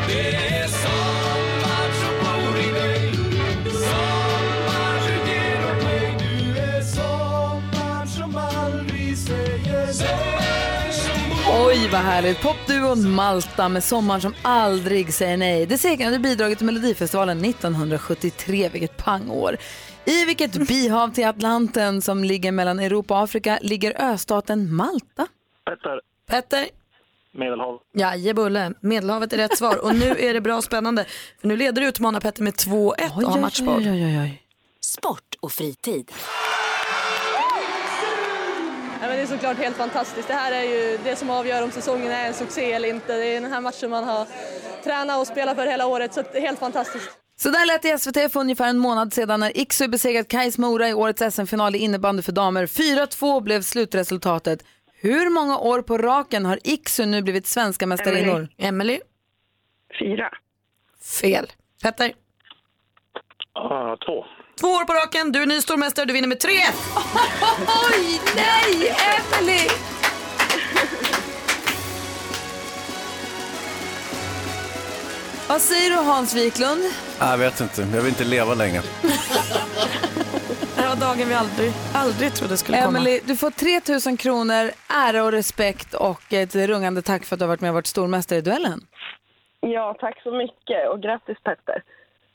S5: Det är sommar som bor i dig Sommar du ger åt mig Du är sommar som aldrig säger nej
S1: Oj, vad härligt. Popduon Malta med Sommar som aldrig säger nej. Det segrande bidraget till Melodifestivalen 1973, vilket pangår. I vilket bihav till Atlanten som ligger mellan Europa och Afrika ligger östaten Malta?
S17: Petter.
S2: Petter.
S17: Medelhav.
S2: Jajebulle, Medelhavet är rätt svar. Och nu är det bra spännande. För nu leder utmanar Petter med 2-1 och har matchboll.
S1: Oj, oj, oj.
S9: Sport och fritid.
S19: Ja, men det är såklart helt fantastiskt. Det här är ju det som avgör om säsongen är en succé eller inte. Det är den här matchen man har tränat och spelat för hela året, så att det är helt fantastiskt.
S1: Så där lät det i SVT för ungefär en månad sedan när Iksu besegrat Kais Mora i årets SM-final i innebandy för damer. 4-2 blev slutresultatet. Hur många år på raken har Iksu nu blivit svenska mästarinnor?
S2: Emily.
S8: Fyra.
S2: Fel. Petter.
S17: Ah, två.
S2: Två år på raken, du är ny stormästare, du vinner med 3
S1: Oj, nej! Emily! Vad säger du Hans Wiklund?
S3: Jag vet inte, jag vill inte leva längre.
S2: Det här var dagen vi aldrig, aldrig trodde skulle komma.
S1: Emily, du får 3 000 kronor, ära och respekt och ett rungande tack för att du har varit med och varit stormästare i duellen.
S8: Ja, tack så mycket och grattis Petter.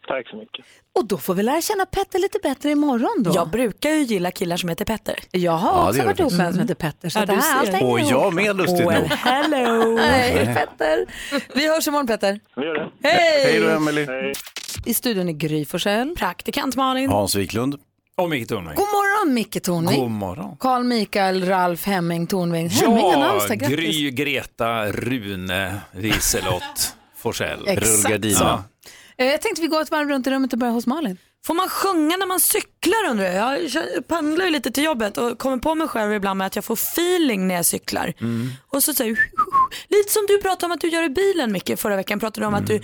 S17: Tack så mycket.
S1: Och då får vi lära känna Petter lite bättre imorgon då.
S2: Jag brukar ju gilla killar som heter Petter.
S1: Jag har
S3: Ja, det
S1: också
S3: gör
S1: varit
S3: du
S1: ihop med en
S3: faktiskt.
S1: som heter Petter. Så
S2: Ja,
S1: det
S2: du
S1: här,
S2: ser.
S1: allt hänger
S3: Och
S1: ihop.
S3: jag med, lustigt
S2: Well,
S3: nog.
S2: hello!
S1: Nej, Petter. Vi hörs imorgon Petter.
S17: Vi gör det.
S1: Hej!
S3: Hej då, Emily.
S1: I studion är Gry Forssell.
S2: Praktikant Malin.
S3: Hans Wiklund.
S20: Och Micke Tornving.
S1: God morgon Micke Tornving.
S20: God morgon.
S1: Carl Mikael Ralf Hemming Tornving. Hemming är
S20: Ja,
S1: namnsdag, grattis.
S20: Gry, Greta, Rune, Liselott, Forsell.
S1: Exakt. Rullgardina. Eh, Jag tänkte vi går ett varv runt i rummet och börjar hos Malin.
S2: Får man sjunga när man cyklar undrar jag? Jag kör- pendlar ju lite till jobbet och kommer på mig själv ibland med att jag får feeling när jag cyklar. Och så säger lite som du pratade om att du gör i bilen mycket förra veckan, pratade du om att du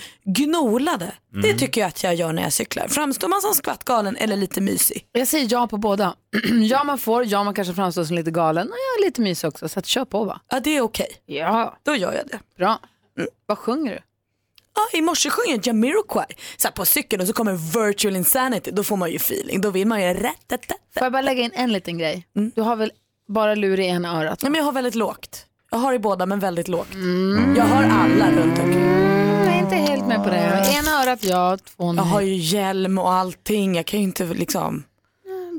S2: gnolade. Det
S1: Mm.
S2: tycker jag att jag gör när jag cyklar. Framstår man som skvattgalen eller lite mysig?
S1: Jag säger ja på båda. ja man får, ja man kanske framstår som lite galen och jag är lite mysig också så att kör på va.
S2: Ja det är okej.
S1: Ja.
S2: Då gör jag det.
S1: Bra. Vad sjunger du?
S2: Ja, I morse sjöng jag Jamiroquai. Så här på cykeln och så kommer virtual insanity. Då får man ju feeling. Då vill man ju rätt.
S1: Får jag bara lägga in en liten grej? Du har väl bara lur i ena örat?
S2: Nej, men jag har väldigt lågt. Jag har i båda men väldigt lågt.
S3: Mm.
S2: Jag har alla runt omkring.
S1: Jag är inte helt med på det. Ena örat ja, två nej.
S2: Jag har ju hjälm och allting. Jag kan ju inte liksom.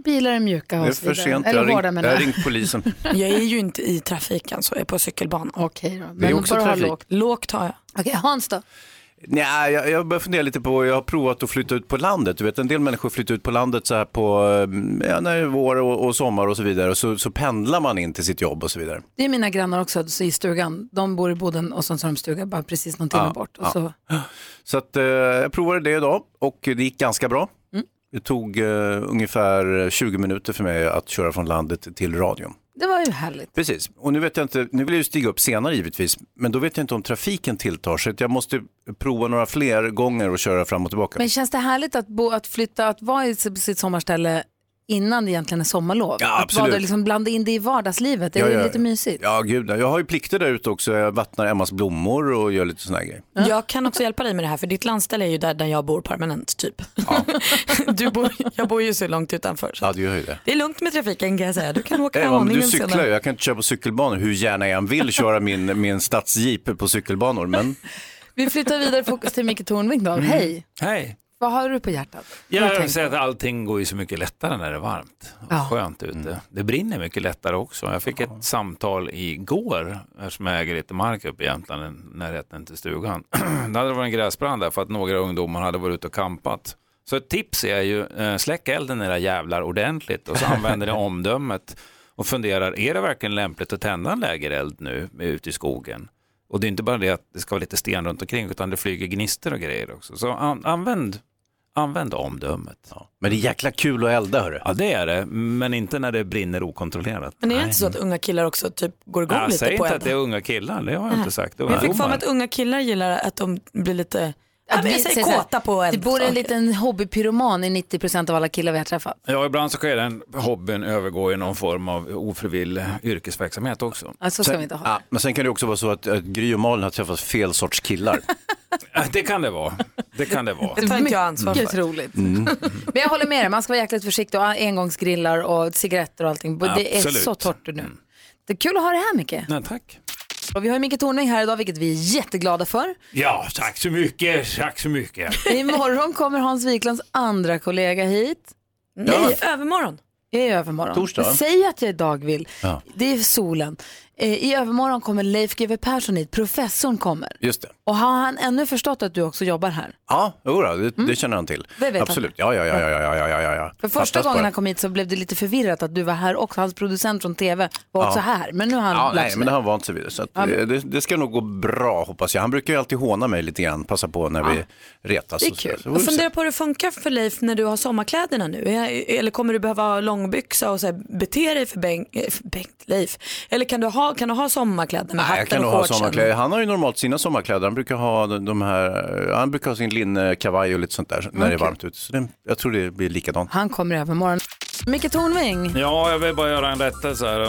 S1: Bilar är mjuka
S3: Det är
S1: och så
S3: för
S1: vidare.
S3: sent, jag
S1: Eller
S3: har
S1: hårda
S3: ringt,
S1: menar
S3: jag har
S1: jag.
S3: ringt polisen.
S2: Jag är ju inte i trafiken så jag är på cykelbanan.
S1: Okej då.
S3: Det är också
S1: bara ha
S3: trafik.
S1: lågt.
S2: Lågt har jag.
S1: Okej, Hans då?
S3: Nej, jag, jag börjar fundera lite på, jag har provat att flytta ut på landet. Du vet en del människor flyttar ut på landet så här på, eh, ja, när det är vår och, och sommar och så vidare. Och så, så pendlar man in till sitt jobb och så vidare.
S1: Det är mina grannar också så i stugan. De bor i Boden och sen så har de stuga bara precis någon timme
S3: Ja,
S1: bort. Och
S3: ja.
S1: så...
S3: Så att, eh, jag provade det idag och det gick ganska bra.
S1: Mm.
S3: Det tog eh, ungefär 20 minuter för mig att köra från landet till radion.
S1: Det var ju härligt.
S3: Precis, och nu vet jag inte, nu vill jag ju stiga upp senare givetvis, men då vet jag inte om trafiken tilltar så att jag måste prova några fler gånger och köra fram och tillbaka.
S1: Men känns det härligt att, bo, att flytta, att vara i sitt sitt sommarställe innan det egentligen är sommarlov?
S3: Ja,
S1: att vara
S3: absolut.
S1: där, liksom blanda in det i vardagslivet, det är
S3: Ja, ja,
S1: lite
S3: ja.
S1: mysigt.
S3: Ja, gud, jag har ju plikter där ute också. Jag vattnar Emmas blommor och gör lite såna här grejer.
S2: Jag kan också hjälpa dig med det här för ditt landställe är ju där, där jag bor permanent typ. du bor, jag bor ju så långt utanför. Så.
S3: Ja, du gör ju det.
S2: Det är lugnt med trafiken kan jag säga. Du kan åka
S3: Emma, men du
S2: aningen
S3: cyklar ju.
S2: senare.
S3: Jag kan inte köra på cykelbanor hur gärna jag än vill köra min, min stadsjeep på cykelbanor. Men...
S1: Vi flyttar vidare fokus till Micke Tornving
S20: Mm.
S1: då. Hej,
S20: Hej.
S1: vad har du på hjärtat?
S20: Ja, jag vill säga att allting går ju så mycket lättare när det är varmt och skönt ute. Det brinner mycket lättare också. Jag fick ett samtal igår, eftersom jag äger lite mark uppe i Jämtland, i närheten till stugan. det hade varit en gräsbrand där för att några ungdomar hade varit ute och campat. Så ett tips är ju, eh, släck elden era jävlar ordentligt och så använder ni omdömet och funderar, är det verkligen lämpligt att tända en lägereld nu ute i skogen? Och det är inte bara det att det ska vara lite sten runt omkring utan det flyger gnistor och grejer också. Så an, använd, använd omdömet.
S3: Men det är jäkla kul att elda hörru.
S20: Ja det är det, men inte när det brinner okontrollerat.
S2: Men är det inte så att unga killar också typ går igång
S20: Jag
S2: lite
S20: säger
S2: på
S20: inte att det är
S2: elden?
S20: unga killar, det har jag
S2: Nej.
S20: inte sagt. Det är
S2: Men jag fick för
S20: ungdomar.
S2: mig att unga killar gillar att de blir lite, ja, men jag säger
S1: så här,
S2: kåta på
S1: Det
S2: eld.
S1: bor en liten hobbypyroman i 90% av alla killar vi har träffat.
S20: Ja, ibland så sker den hobbyn övergå i någon form av ofrivillig yrkesverksamhet också.
S1: Ja, så ska vi inte ha.
S3: Ja, men sen kan det också vara så att, att Gry och Malin har träffat fel sorts killar.
S20: det kan det vara. Det kan det vara.
S1: Det tar inte jag ansvar för. Mycket roligt. Men jag håller med dig, man ska vara jäkligt försiktig och ha engångsgrillar och cigaretter och allting. Det är
S20: Absolut.
S1: så torrt nu. Det är kul att ha det här Micke.
S20: Nej, tack.
S1: Och vi har ju Micke Tornving här idag, vilket vi är jätteglada för.
S20: Ja, tack så mycket. Tack så mycket.
S1: Imorgon kommer Hans Wiklunds andra kollega hit.
S2: Nej, övermorgon.
S1: I övermorgon.
S2: Torsdag.
S1: Säg att jag idag vill.
S3: Ja.
S1: Det är solen. Eh, I övermorgon kommer Leif GW Persson hit, professorn kommer.
S3: Just det.
S1: Och har han ännu förstått att du också jobbar här?
S3: Ja, jodå, det, det känner han till.
S1: Mm. Det vet han.
S3: Absolut, ja, ja, ja, ja, ja, ja, ja, ja.
S1: För första
S3: Fattas
S1: gången
S3: bara.
S1: han kom hit så blev det lite förvirrat att du var här också. Hans producent från TV var också
S3: Ja.
S1: här. Men nu har han
S3: ja,
S1: lärt
S3: nej,
S1: sig
S3: men det
S1: det.
S3: har han vant sig vid. Så att,
S1: Ja, men-
S3: eh, det, det ska nog gå bra hoppas jag. Han brukar ju alltid håna mig lite grann, passa på när vi retas.
S2: Det är
S3: och så där.
S2: kul.
S3: Så får
S2: Jag
S3: vi se.
S2: funderar på hur det funkar för Leif när du har sommarkläderna nu. Är- Eller kommer du behöva ha långbyxa och så här, bete dig för, Bengt, eh, för Bengt Leif? Eller kan du ha, kan du ha sommarkläder med
S3: Nej, jag kan
S2: hatten
S3: nog
S2: och
S3: ha
S2: shortsen?
S3: sommarkläder. Han har ju normalt sina sommarkläder. Han brukar ha de de här, eh, han brukar ha sin linnekavaj och lite sånt där när det är
S1: Okej.
S3: varmt ute. Så det, jag tror det blir likadant.
S1: Han kommer i övermorgon. Micke Tornving,
S20: Ja, jag vill bara göra en rättelse här.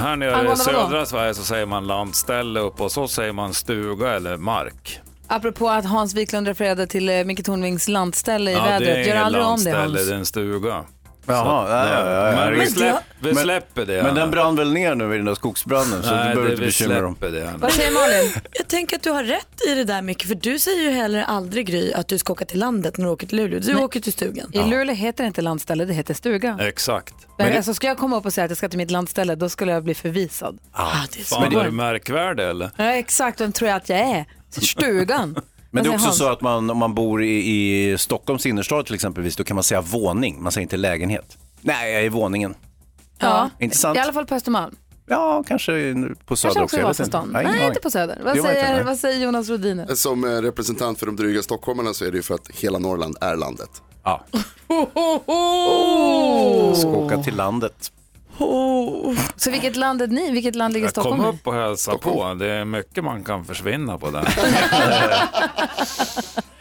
S20: Här nere i
S1: Angående vadå?
S20: södra Sverige så säger man landställe upp och så säger man stuga eller mark.
S1: apropå att Hans Wiklund refererade till eh, Micke Tornvings landställe i
S20: Ja,
S1: vädret. Gör
S20: inget
S1: aldrig om det
S20: landställe,
S1: Hans.
S20: det är en stuga.
S3: Jaha,
S20: Så att,
S3: ja, ja, ja, ja.
S20: Men vi,
S3: Men
S20: släpp,
S3: det-
S20: vi
S3: men-
S20: släpper det.
S3: Men den brann väl ner nu i den där skogsbranden så
S20: Nej,
S3: du behöver
S20: det-
S3: inte
S20: vi
S3: bekymra dig om.
S20: släpper det.
S2: Vad
S1: säger Malin?
S2: Jag tänker att du har rätt i det där mycket för du säger ju heller aldrig Gry att du ska åka till landet när du åker till Luleå. Du
S1: Nej.
S2: åker till stugan.
S1: I Luleå heter det inte landställe, det heter stuga.
S20: Exakt.
S1: Men alltså, ska jag komma upp och säga att jag ska till mitt landställe, då skulle jag bli förvisad.
S20: Ah,
S2: det är
S1: så
S20: Fan,
S1: bra.
S20: är du märkvärdig eller?
S1: Ja, exakt, vem tror jag att jag är? Stugan.
S3: Men
S1: Vad
S3: det är
S1: säger
S3: också
S1: Hans?
S3: så att man, om man bor i, i Stockholms innerstad till exempelvis, då kan man säga våning, man säger inte lägenhet. Nej, jag är i våningen.
S1: Ja.
S3: Intressant.
S1: I alla fall på Östermalm.
S3: Ja, kanske på
S1: Kanske också
S3: Söder också.
S1: i
S3: jag vet inte.
S1: Vasastan.
S3: Nej, ingen
S1: Nej,
S3: aning.
S1: inte på Söder. Vad
S13: Det var inte,
S1: säger,
S13: nej.
S1: vad säger Jonas Rodiner?
S13: Som eh, representant för de dryga stockholmarna så är det ju för att hela Norrland är landet.
S3: Ja. Ska åka till landet.
S1: Så vilket land är ni? Vilket land ligger Stockholm
S20: Kom
S1: i?
S20: upp och hälsa på. Det är mycket man kan försvinna på där.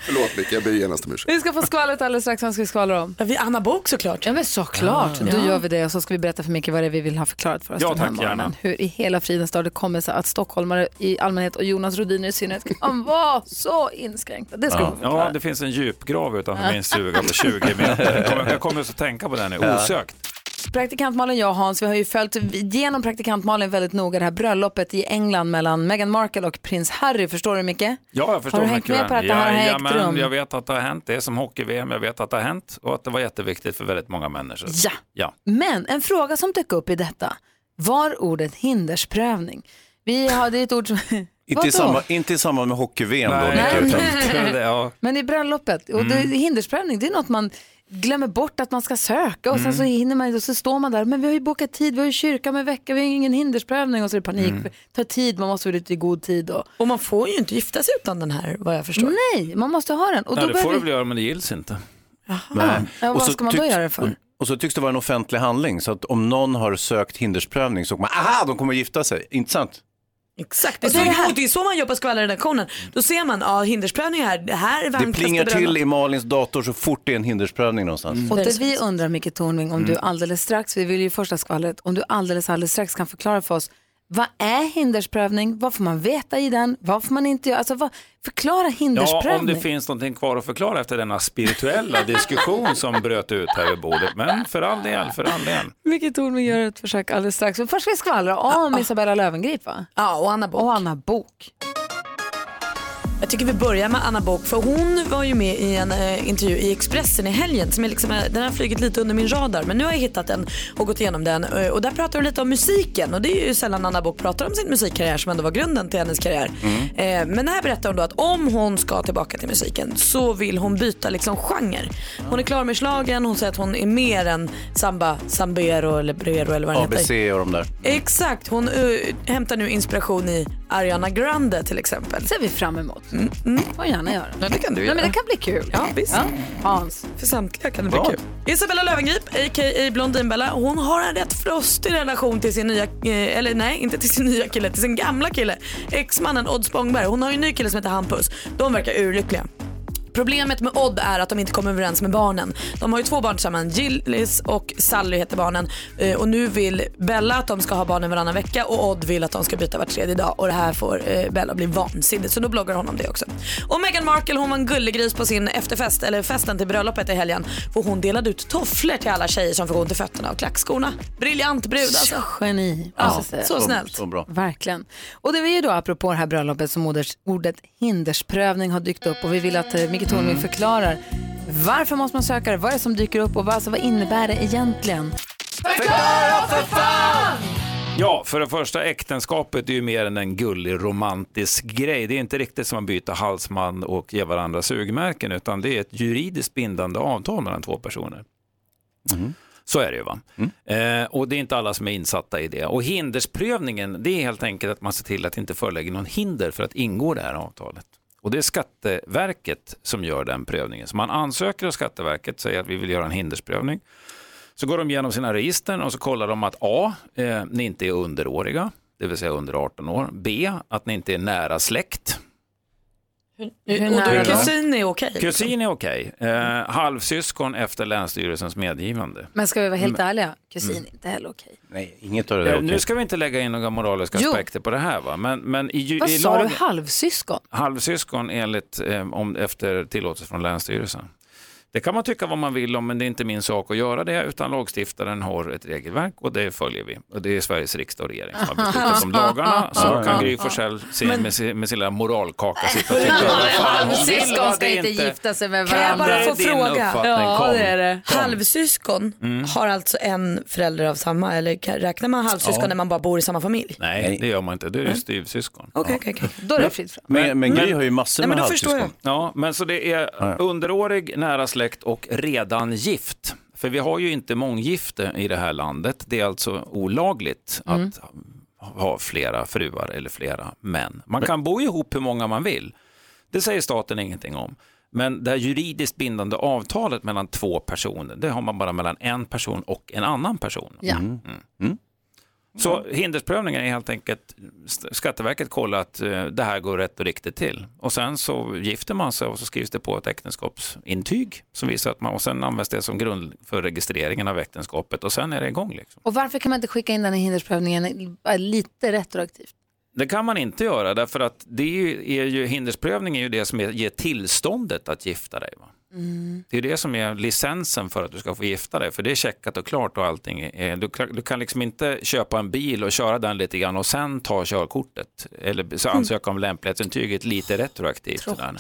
S13: Förlåt Micke, jag ber genast om ursäkt.
S1: Vi ska få skvallret alldeles strax. Vad ska vi skallra om?
S2: vi, Anna Bok såklart.
S1: Ja, men såklart.
S2: Ah.
S1: Då
S2: Ja.
S1: gör vi det och så ska vi berätta för Micke vad det är vi vill ha förklarat för oss
S20: Ja,
S1: den här
S20: tack,
S1: morgonen.
S20: gärna.
S1: Hur i hela fridens dag det kommer sig att stockholmare i allmänhet och Jonas Rodiner i synnerhet kan vara så inskränkta. Det ska
S20: ja.
S1: ja.
S20: ja, det finns en djupgrav utanför
S1: Ja.
S20: min stuga på 20 meter. Jag kommer, jag kommer att tänka på den nu,
S3: Ja.
S20: osökt.
S1: Praktikant Malin, jag och Hans, vi har ju följt genom praktikant Malin väldigt noga det här bröllopet i England mellan Meghan Markle och prins Harry. Förstår du Micke?
S20: Ja, jag förstår
S1: Har du hängt
S20: mycket
S1: med
S20: väl.
S1: på att det här har ägt
S20: Jajamän,
S1: rum?
S20: Jag vet att det har hänt. Det är som hockey-VM. Jag vet att det har hänt och att det var jätteviktigt för väldigt många människor.
S1: Ja.
S20: ja.
S1: Men en fråga som dök upp i detta var ordet hindersprövning. Vi hade ett ord som...
S3: Inte i,
S1: Vadå?
S3: samma, inte i samband med hockey-VM då. Micke, utan-
S20: ja.
S1: Men i bröllopet, och det,
S3: Mm.
S1: hindersprövning det är något man glömmer bort att man ska söka och sen
S20: Mm.
S1: så hinner man och så står man där, men vi har ju bokat tid, vi har ju kyrka om en vecka, vi har ju ingen hindersprövning och så är det panik,
S2: Mm.
S1: det tar tid, man måste vara ute i god tid. Och...
S2: Och man får ju inte gifta sig utan den här vad jag förstår.
S1: Nej, man måste ha den. Och då
S20: Nej, det får
S1: börjar
S20: du
S1: vi-
S20: väl göra, men det gills inte.
S3: Nej.
S1: Ja, vad
S3: så
S1: ska man då
S3: tycks-
S1: göra det för?
S3: Och, och så tycks det vara en offentlig handling, så att om någon har sökt hindersprövning så kommer man, aha, de kommer att gifta sig. Inte sant?
S2: Exakt, det är, så, och det är så man gör på skvallerredaktionen. Då ser man, ja hindersprövning här, det här är
S3: Det
S2: varmt
S3: plingar till i Malins dator så fort det är en hindersprövning någonstans.
S1: Och det vi undrar Micke Tornving om
S3: Mm.
S1: du alldeles strax, vi vill ju första skvallret, om du alldeles alldeles strax kan förklara för oss vad är hindersprövning? Vad får man veta i den? Vad får man inte göra? Alltså, vad, förklara
S20: Ja, om
S1: hindersprövning.
S20: det finns någonting kvar att förklara efter denna spirituella diskussion som bröt ut här vid bordet. Men för all del, för all del.
S1: Micke Tornving gör ett försök alldeles strax. Men först ska vi skvallra om Isabella Löwengrip va?
S2: Ja, och Anna Bok.
S1: Och Anna Bok.
S2: Jag tycker vi börjar med Anna Bok för hon var ju med i en eh, intervju i Expressen i helgen. Som är liksom, eh, den har flugit lite under min radar men nu har jag hittat den och gått igenom den. Eh, och där pratar hon lite om musiken och det är ju sällan Anna Bok pratar om sin musikkarriär som ändå var grunden till hennes karriär. Eh, Men här berättar hon då att om hon ska tillbaka till musiken så vill hon byta liksom genre. Hon är klar med slagen, hon säger att hon är mer än samba, sambero eller brero eller vad den
S3: ABC
S2: heter.
S3: och de där.
S2: Exakt, hon eh, hämtar nu inspiration i Ariana Grande till exempel.
S1: ser vi fram emot. får jag gärna göra.
S2: Ja, det kan du
S1: Nej, men
S2: göra.
S1: Mm, det kan bli kul.
S2: Ja, visst.
S1: Hans.
S2: För samtliga kan det bli kul. Isabella Löwengrip, a.k.a. Blondinbella, hon har en rätt frostig relation till sin nya, eh, eller nej, inte till sin nya kille, till sin gamla kille. Exmannen Odd Spångberg. Hon har ju en ny kille som heter Hampus. De verkar urlyckliga. Problemet med Odd är att de inte kommer överens med barnen. De har ju två barn tillsammans, Gillis och Sally heter barnen. Eh, Och nu vill Bella att de ska ha barnen varannan vecka och Odd vill att de ska byta var tredje dag. Och det här får eh, Bella bli vansinnig så då bloggar hon om det också. Och Meghan Markle hon var en gullegris på sin efterfest, eller festen till bröllopet i helgen. För hon delade ut tofflor till alla tjejer som fick ont i fötterna av klackskorna. Briljant brud alltså.
S1: Geni.
S2: Ja,
S1: måste jag säga.
S2: så snällt. Så bra.
S1: Verkligen. Och det är ju då apropå det här bröllopet som orders- ordet hindersprövning har dykt upp och vi vill att eh, Micke Tornving
S20: Mm.
S1: förklarar varför måste man söka det, vad är det som dyker upp och vad, alltså, vad innebär det
S2: Eh,
S1: egentligen?
S5: Förklara för fan!
S20: Ja, för det första, äktenskapet är ju mer än en gullig romantisk grej. Det är inte riktigt som att byta halsman och ge varandra sugmärken, utan det är ett juridiskt bindande avtal mellan två personer. Så är det ju. va? Eh, och det är inte alla som är insatta i det. Och hindersprövningen, det är helt enkelt att man ser till att inte förelägga någon hinder för att ingå det här avtalet. Och det är Skatteverket som gör den prövningen. Så man ansöker hos Skatteverket, säger att vi vill göra en hindersprövning. Så går de igenom sina register och så kollar de att A, eh, ni inte är underåriga, det vill säga under 18 år. B, att ni inte är nära släkt.
S2: Och då
S20: nära?
S2: är kusin är okej.
S20: Kusin är okej. Eh, halvsyskon efter Länsstyrelsens medgivande.
S1: Men ska vi vara helt
S20: Men-
S1: ärliga, kusin
S20: Mm.
S1: är inte heller okej.
S20: Nej, inget av
S3: det där är okej.
S20: Nu ska vi inte lägga in några moraliska
S1: Jo.
S20: aspekter på det här. Va? Men, men i, ju-
S1: Vad
S20: i
S1: sa
S20: lagen-
S1: du, halvsyskon?
S20: halvsyskon enligt, eh, om, efter tillåtelse från Länsstyrelsen. Det kan man tycka vad man vill om, men det är inte min sak att göra det, utan lagstiftaren har ett regelverk och det följer vi. Och det är Sveriges riksdag och regering som har beslutat om lagarna, så
S3: Ja,
S20: kan
S3: ja.
S20: Gry Forssell se med, sin- med sin lilla moralkaka sitta och tycka vad fan hon vill.
S1: Halvsyskon
S20: va?
S1: ska
S20: Det är
S1: inte gifta sig med
S2: Kan jag
S1: varandra.
S2: bara
S20: Det är
S2: få
S20: din
S2: fråga?
S20: uppfattning. Kom. Kom.
S2: Halvsyskon
S20: Mm.
S2: har alltså en förälder av samma, eller kan- räknar man halvsyskon
S20: Ja.
S2: när man bara bor i samma familj?
S20: Nej, det gör man inte. Det är ju styvsyskon.
S2: Okej, okej, okej.
S1: Då är det fritt fram.
S3: Men, men Gry har ju massor med halvsyskon.
S20: Ja, men så det är underårig, nära släkt och redan gift. För vi har ju inte månggifte i det här landet. Det är alltså olagligt
S1: Mm.
S20: att ha flera fruar eller flera män. Man kan bo ihop hur många man vill. Det säger staten ingenting om. Men det här juridiskt bindande avtalet mellan två personer, det har man bara mellan en person och en annan person.
S1: Ja.
S20: Mm. Mm. Så hindersprövningen är helt enkelt, Skatteverket kollar att eh, det här går rätt och riktigt till. Och sen så gifter man sig och så skrivs det på ett äktenskapsintyg som visar att man, och sen används det som grund för registreringen av äktenskapet och sen är det igång. Liksom.
S1: Och varför kan man inte skicka in den här hindersprövningen bara lite retroaktivt?
S20: Det kan man inte göra därför att det är ju, är ju, hindersprövning är ju det som är, ger tillståndet att gifta dig. Va?
S1: Mm.
S20: Det är det som är licensen för att du ska få gifta dig för det är checkat och klart och allting. är- Du, kan- du kan liksom inte köpa en bil och köra den lite grann och sen ta körkortet eller så ansöka om lämplighetsintyget lite retroaktivt. Sådär.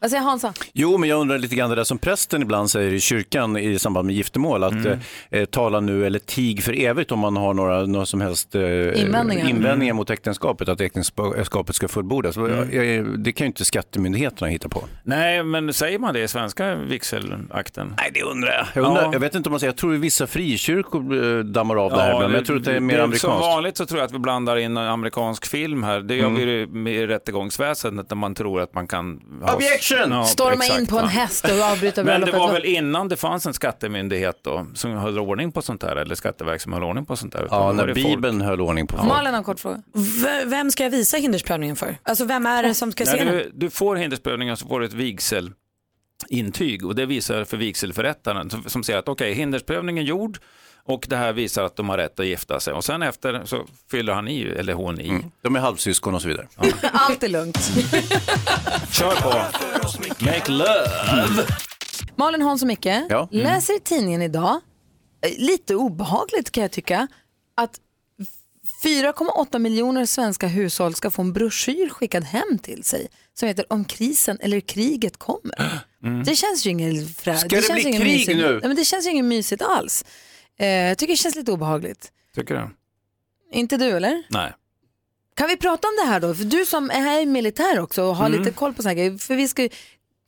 S1: Vad säger Hansa?
S3: Jo, men jag undrar lite grann det där som prästen ibland säger i kyrkan i samband med giftermål, att
S20: Mm.
S3: eh, tala nu eller tig för evigt om man har några, några som helst eh,
S1: Invändningar.
S3: invändningar Mm. mot äktenskapet, att äktenskapet ska fullbordas. Eh, Det kan ju inte skattemyndigheterna hitta på.
S20: Nej, men säger man det i svenska vigselakten?
S3: Nej, det undrar jag. Jag, undrar, jag vet inte om man säger, jag tror att vissa frikyrkor eh, dammar av det här ibland, men jag tror att det är mer
S20: Som
S3: amerikanskt.
S20: vanligt så tror jag att vi blandar in en amerikansk film här. Det gör vi mm. i rättegångsväsendet när man tror att man kan... ha-
S3: Objection!
S20: Ja,
S1: Storma in
S20: exakt,
S1: på en
S20: va.
S1: häst och avbryta
S20: Men det
S1: bröllopet.
S20: var väl innan det fanns en skattemyndighet då, som höll ordning på sånt här, eller Skatteverk som höll ordning på sånt här. Utan
S3: Ja,
S20: då var
S3: när
S20: det folk-
S3: Bibeln höll ordning på folk.
S1: Malin har en kort fråga.
S2: V- vem ska jag visa hindersprövningen för? Alltså vem är det som ska se
S20: När
S2: den?
S20: du, du får hindersprövningen så får du ett vigselintyg och det visar för vigselförrättaren som, som säger att okej, hindersprövningen är gjord och det här visar att de har rätt att gifta sig. Och sen efter så fyller han i, eller hon i.
S3: De är halvsyskon och så vidare.
S1: Allt är lugnt.
S20: Kör på! Make love!
S1: Malin, Hans och Micke,
S20: Ja. Mm.
S1: läser i tidningen idag, eh, lite obehagligt kan jag tycka, att f- 4,8 miljoner svenska hushåll ska få en broschyr skickad hem till sig som heter Om krisen eller kriget kommer.
S5: Mm.
S1: Det känns ju ingen frä...
S5: Ska det
S1: känns
S5: bli
S1: ju ingen
S5: krig
S1: mysigt.
S5: nu?
S1: Nej, men det känns ju ingen mysigt alls. Eh, jag tycker det känns lite obehagligt.
S20: Tycker du?
S1: Inte du eller?
S20: Nej.
S1: Kan vi prata om det här då? För du som är här i militär också och har
S20: Mm.
S1: lite koll på sådana här grejer. För vi ska, ju-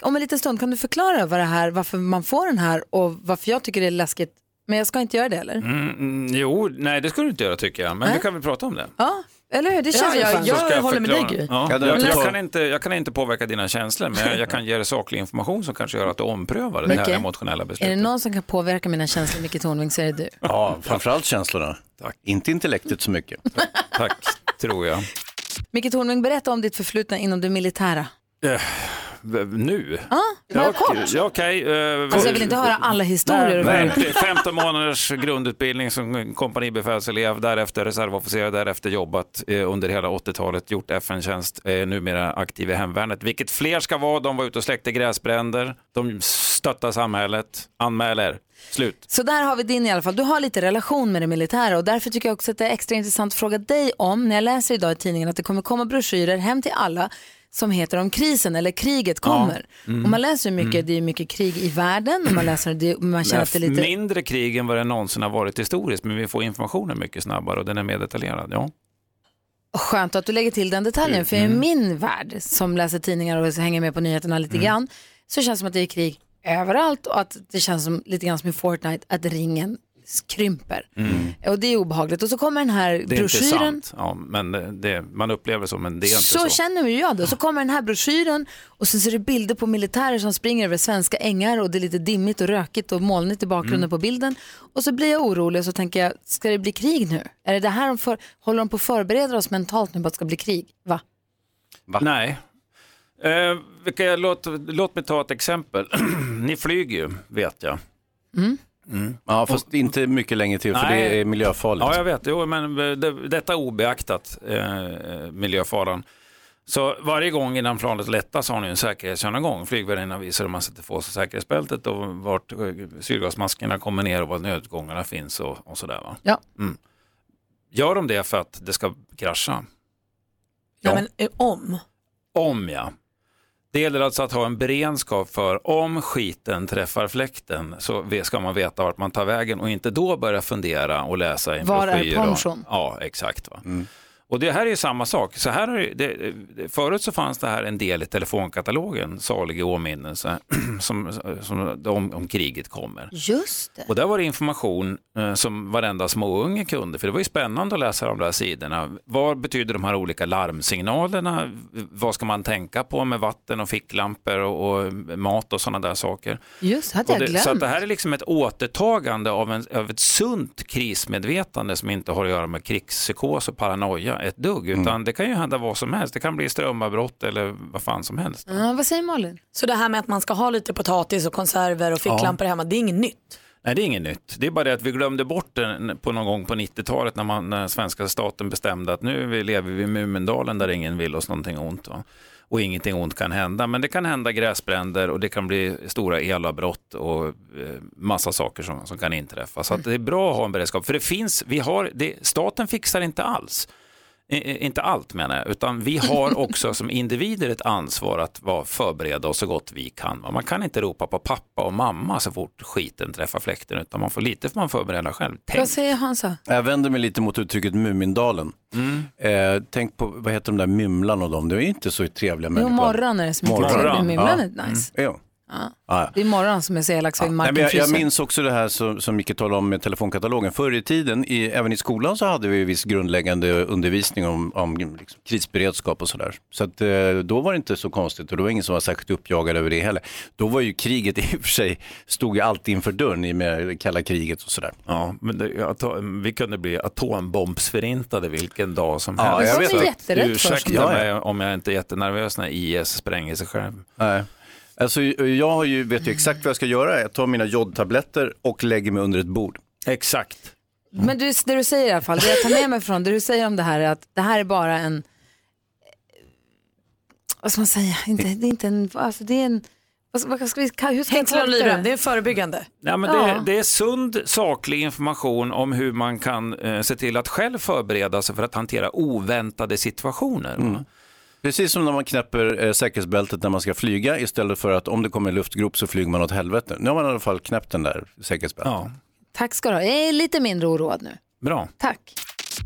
S1: om en liten stund kan du förklara vad det här, varför man får den här och varför jag tycker det är läskigt. Men jag ska inte göra det eller?
S20: Mm, mm, jo, nej det ska du inte göra tycker jag. Men vi kan väl prata om det.
S1: Ja, eller hur? Det känns
S2: Ja,
S1: ju
S2: ja,
S1: fan.
S20: Så ska förklara. Ja,
S1: Ja,
S20: jag, jag, kan inte, jag kan inte påverka dina känslor, men jag, jag kan ge dig saklig information som kanske gör att du omprövar det här
S1: Micke,
S20: emotionella
S1: Är
S20: beslutet.
S1: det någon som kan påverka mina känslor mycket Tornving så är det du.
S3: Ja, framförallt känslorna. Inte intellektet så mycket.
S20: Tack, tror jag.
S1: Micke Tornving, berätta om ditt förflutna inom det militära.
S20: Eh, v- nu?
S1: Ja, bara
S20: okej.
S1: kort.
S20: Ja, okej, eh,
S1: Alltså jag vill inte höra alla historier.
S20: Nej, det är 15 månaders grundutbildning som kompanibefälselev, därefter reservofficer, därefter jobbat eh, under hela 80-talet, gjort FN-tjänst, är numera aktiv i hemvärnet. Vilket fler ska vara, de var ute och släckte gräsbränder, de stöttar samhället, anmäler, slut.
S1: Så där har vi din i alla fall. Du har lite relation med det militära och därför tycker jag också att det är extra intressant att fråga dig om, när jag läser idag i tidningen att det kommer komma broschyrer hem till alla som heter om krisen eller kriget kommer.
S20: Mm.
S1: Och man läser ju mycket,
S20: Mm.
S1: det är ju mycket krig i världen och man läser det, och man känner att det är lite...
S20: Mindre krig än vad det någonsin har varit historiskt, men vi får informationen mycket snabbare och den är mer detaljerad. Ja.
S1: Skönt att du lägger till den
S20: Mm.
S1: detaljen, för i min värld som läser tidningar och så hänger med på nyheterna
S20: Mm.
S1: lite grann så känns det som att det är krig överallt och att det känns som, lite grann som i Fortnite att ringen krymper. Och det är obehagligt. Och så kommer den här
S20: Mm. Det är inte
S1: broschyren.
S20: sant, ja, men det- det, man upplever så, men det är inte
S1: så,
S20: så.
S1: känner ju jag det. Och så kommer den här broschyren och sen ser du bilder på militärer som springer över svenska ängar och det är lite dimmigt och rökigt och molnigt i bakgrunden
S9: Mm.
S1: på bilden. Och så blir jag orolig och så tänker jag, ska det bli krig nu? Är det det här de för, håller de på att förbereda oss mentalt nu på att det ska bli krig? Va?
S20: Nej. Eh, vilka, jag- låt, låt mig ta ett exempel. Ni flyger ju, vet jag.
S3: Ja, fast inte mycket längre till för
S20: Mm. Nej.
S3: det är miljöfarligt.
S20: Ja, jag vet. Jo, men eh, det, detta är obeaktat eh, miljöfaran. Så varje gång innan planet lättas har ni en säkerhetsgenomgång. Flygvärdinnan visar hur man sätter på sig säkerhetsbältet och vart eh, syrgasmaskerna kommer ner och var nödutgångarna finns och, och sådär. Va?
S1: Ja.
S20: Mm. Gör de det för att det ska krascha?
S2: Ja, men eh, om.
S20: Om ja. Det gäller alltså att ha en beredskap för om skiten träffar fläkten så ve- ska man veta vart man tar vägen och inte då börja fundera och läsa i en
S1: Var är
S20: broschyr. och-
S1: ponchon?
S20: Ja, exakt. Va? Och det här är ju samma sak. Så här har ju- det, det- förut så fanns det här en del i telefonkatalogen, salig i åminnelse, som, som, om, om kriget kommer.
S1: Just
S20: Och där var det information eh, som varenda småunge kunde, för det var ju spännande att läsa de där sidorna. Vad betyder de här olika larmsignalerna? Vad ska man tänka på med vatten och ficklampor och, och mat och sådana där saker?
S1: Just hade jag
S20: Och det,
S1: glömt.
S20: så att det här är liksom ett återtagande av, en, av ett sunt krismedvetande som inte har att göra med krigspsykos och paranoia ett dugg, utan det kan ju hända vad som helst. Det kan bli strömavbrott eller vad fan som helst.
S1: vad säger Malin?
S2: Så det här med att man ska ha lite potatis och konserver och ficklampor hemma, det är inget nytt?
S20: Nej, det är inget nytt. Det är bara det att vi glömde bort den på någon gång på 90-talet när, man, när svenska staten bestämde att nu vi- lever vi i Mumindalen där ingen vill oss någonting ont. Va? liksom, Och ingenting ont kan hända. Men det kan hända gräsbränder och det kan bli stora elavbrott och eh, massa saker som, som kan inträffa. Så att det är bra att ha en beredskap. För det finns, vi har, det, staten fixar inte alls. Eh, eh, Inte allt menar jag, utan vi har också som individer ett ansvar att vara förberedda och så gott vi kan. va. Man kan inte ropa på pappa och mamma så fort skiten träffar fläkten, utan man får lite får man förbereda själv. Tänk.
S1: Vad säger Hansa?
S3: Jag vänder mig lite mot uttrycket Mumindalen.
S20: Mm.
S3: Eh, tänk på, vad heter de där Mymlan och de? Det är ju inte så trevliga
S1: Jo,
S3: människor.
S1: morgon är det som är
S3: Morran.
S1: trevligt. Mimlan
S3: Ja.
S1: är nice.
S3: Mm. Jo.
S1: Ja.
S3: Ja.
S1: Det är morgon som är så elak så är
S3: Nej,
S1: marken
S3: men jag, jag
S1: fryser.
S3: minns också det här som, som Micke talade om med telefonkatalogen. Förr i tiden, i, även i skolan, så hade vi viss grundläggande undervisning om, om liksom, krisberedskap och sådär. Så att, eh, då var det inte så konstigt och då var ingen som var särskilt uppjagad över det heller. Då var ju kriget i och för sig, stod ju alltid inför dörren i och med kalla kriget och sådär.
S20: Ja, men det, jag tar- vi kunde bli atombombsförintade vilken dag som
S3: Ja,
S20: helst.
S3: jag vet
S20: Så
S3: det.
S20: att-
S3: Jätterädd för
S20: Ursäkta
S3: sånt. Ja, ja.
S20: mig om jag inte är jättenervös när IS spränger sig själv.
S3: Nej. Alltså, jag har ju, vet ju exakt vad jag ska göra. Jag tar mina jodtabletter och lägger mig under ett bord.
S20: Exakt.
S1: Men du, det du säger i alla fall, det jag tar med mig från det du säger om det här är att det här är bara en, eh, vad ska man säga, inte, det är inte en, alltså det är en, vad Vad ska- vad ska vi, hur ska jag
S2: Hängslen och
S1: tolka
S2: livrem, det
S1: det?
S2: är förebyggande.
S20: Ja, men
S1: Ja.
S20: det, det är sund, saklig information om hur man kan eh, se till att själv förbereda sig för att hantera oväntade situationer. va?
S3: Precis som när man knäpper eh, säkerhetsbältet när man ska flyga istället för att om det kommer en luftgrop så flyger man åt helvete. Nu har man i alla fall knäppt den där säkerhetsbältet.
S1: Tack ska du ha. Jag är lite mindre oroad nu.
S20: Bra.
S1: Tack.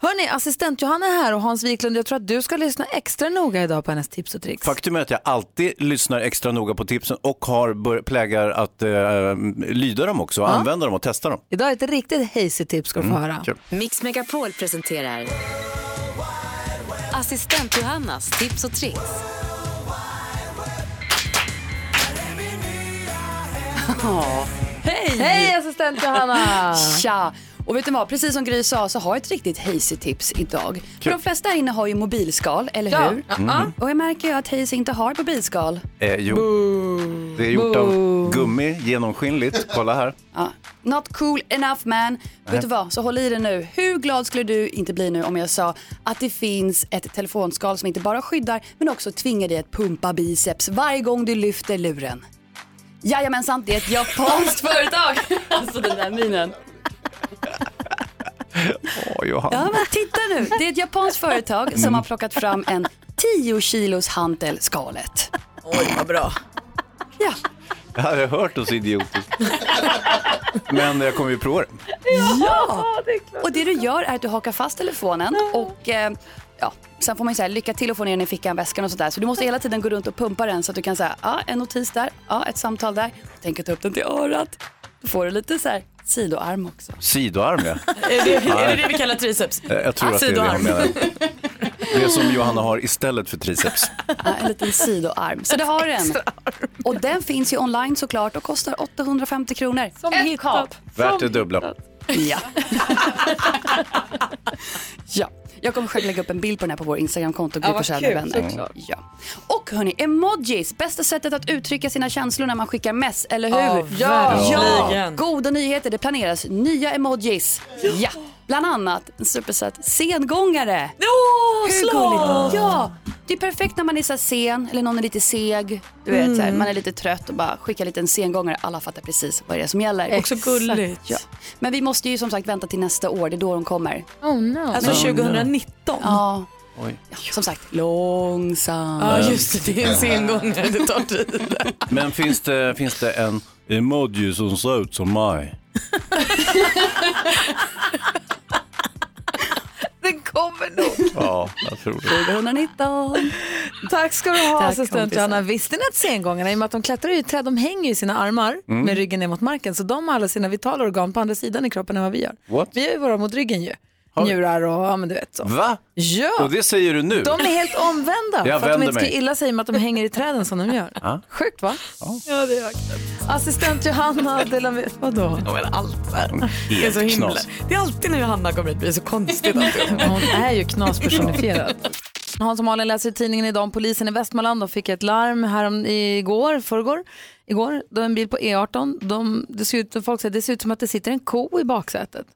S1: Hörni, assistent Johanna är här och Hans Wiklund, jag tror att du ska lyssna extra noga idag på hennes tips och tricks.
S3: Faktum är att jag alltid lyssnar extra noga på tipsen och har bör- plägar att eh, lyda dem också, använda dem och testa dem.
S1: Idag är ett riktigt hejsigt tips ska du få
S3: Mm,
S1: höra.
S3: kul.
S9: Mix Megapol presenterar Assistent Johannas tips och tricks.
S21: Hej!
S1: Hej, assistent Johanna!
S21: Tja! Och vet du vad, precis som Gry sa så har jag ett riktigt hejsigt tips idag. För
S3: Kul.
S21: de flesta här inne har ju mobilskal, eller
S3: Ja.
S21: hur?
S3: Mm.
S21: Och jag märker ju att Hayes inte har mobilskal.
S3: Eh, jo, det är gjort av gummi, genomskinligt. Kolla här.
S21: Ja. Not cool enough man. Vet du vad, så håll i dig nu. Hur glad skulle du inte bli nu om jag sa att det finns ett telefonskal som inte bara skyddar men också tvingar dig att pumpa biceps varje gång du lyfter luren. Jajamensan, det är ett japanskt företag. Alltså den där minen.
S3: Åh, Johanna.
S21: Ja, men titta nu. Det är ett japanskt företag som har plockat fram en 10 kilos hantel skalet.
S2: Oj, vad bra.
S3: Jag hade hört oss idiotiskt. Men jag kommer ju prova det.
S21: Ja! Och det du gör är att du hakar fast telefonen och eh, ja, sen får man ju säga lycka till att få ner den i fickan, väskan och sådär. Så du måste hela tiden gå runt och pumpa den så att du kan säga ja, en notis där, ja, ett samtal där. Tänk att ta upp den till örat. Då får du lite så här sidoarm också.
S3: Sidoarm ja.
S21: Är det- är det det
S2: vi kallar triceps? Alltså,
S3: Eh, Jag tror
S21: Ah,
S3: att det är det hon
S21: sidoarm.
S3: menar. Det som Johanna har istället för triceps.
S21: Ja, en liten sidoarm. Så det har den. Och den finns ju online såklart och kostar 850 kronor. Som ett kap.
S3: Värt det dubbla.
S21: Ja. ja. Jag kommer själv lägga upp en bild på den här på vår Instagramkonto,
S1: Ja,
S21: Gry
S1: vad
S21: Forssell med
S1: kul,
S21: vänner.
S1: såklart.
S21: Ja. Och hörni, emojis, bästa sättet att uttrycka sina känslor när man skickar mess, eller
S1: Ja,
S21: hur? ja.
S1: verkligen.
S21: Goda nyheter, det planeras nya emojis. Ja. Bland annat en supersöt sengångare.
S2: Åh,
S21: Hur
S2: slav!
S21: gulligt? Ja, det är perfekt när man är så här sen eller någon är lite seg. Du vet,
S2: Mm.
S21: så här, man är lite trött och bara skickar lite en sengångare. Alla fattar precis vad det är som gäller.
S2: Också gulligt.
S21: Ja. Men vi måste ju som sagt vänta till nästa år, det är då de kommer.
S1: Oh no.
S21: Alltså,
S1: Oh, no.
S21: 2019? Ja,
S3: Oj.
S21: ja som sagt långsamt.
S3: Ja, just det, det är en
S21: sengångare, det tar tid.
S3: Men finns det, finns det en emoji som ser ut som mig?
S1: Den kommer nog.
S3: Ja, jag tror det.
S21: 2019.
S1: Tack ska du ha
S21: Tack,
S1: assistent
S21: kompisar.
S1: Johanna. Visste ni att sengångarna, i och med att de klättrar i träd, de hänger ju i sina armar
S21: Mm.
S1: med ryggen ner mot marken, så de har alla sina vitala organ på andra sidan i kroppen än vad vi gör.
S3: What?
S1: Vi gör ju våra mot ryggen ju. Njurar och ja, men du vet så.
S3: Va?
S1: Ja.
S3: Och det säger du nu?
S1: De är helt omvända
S3: Jag
S1: för att de
S3: vänder
S1: inte ska
S3: mig. Ah.
S1: illa sig med att de hänger i träden som de gör.
S3: Ja.
S1: Sjukt va?
S2: Ja, det är jag.
S1: Assistent Johanna delar med... Vadå?
S2: Ja, men allt där.
S1: Det är så himla- Knas.
S2: Det är alltid när Johanna kommer hit blir så konstigt.
S1: Hon är ju knaspersonifierad. Hans och Malin läser i tidningen idag om polisen i Västmanland. De fick ett larm härom igår, förrgår, igår, då en bil på E18. De, det, ser ut, folk säger, det ser ut som att det sitter en ko i baksätet.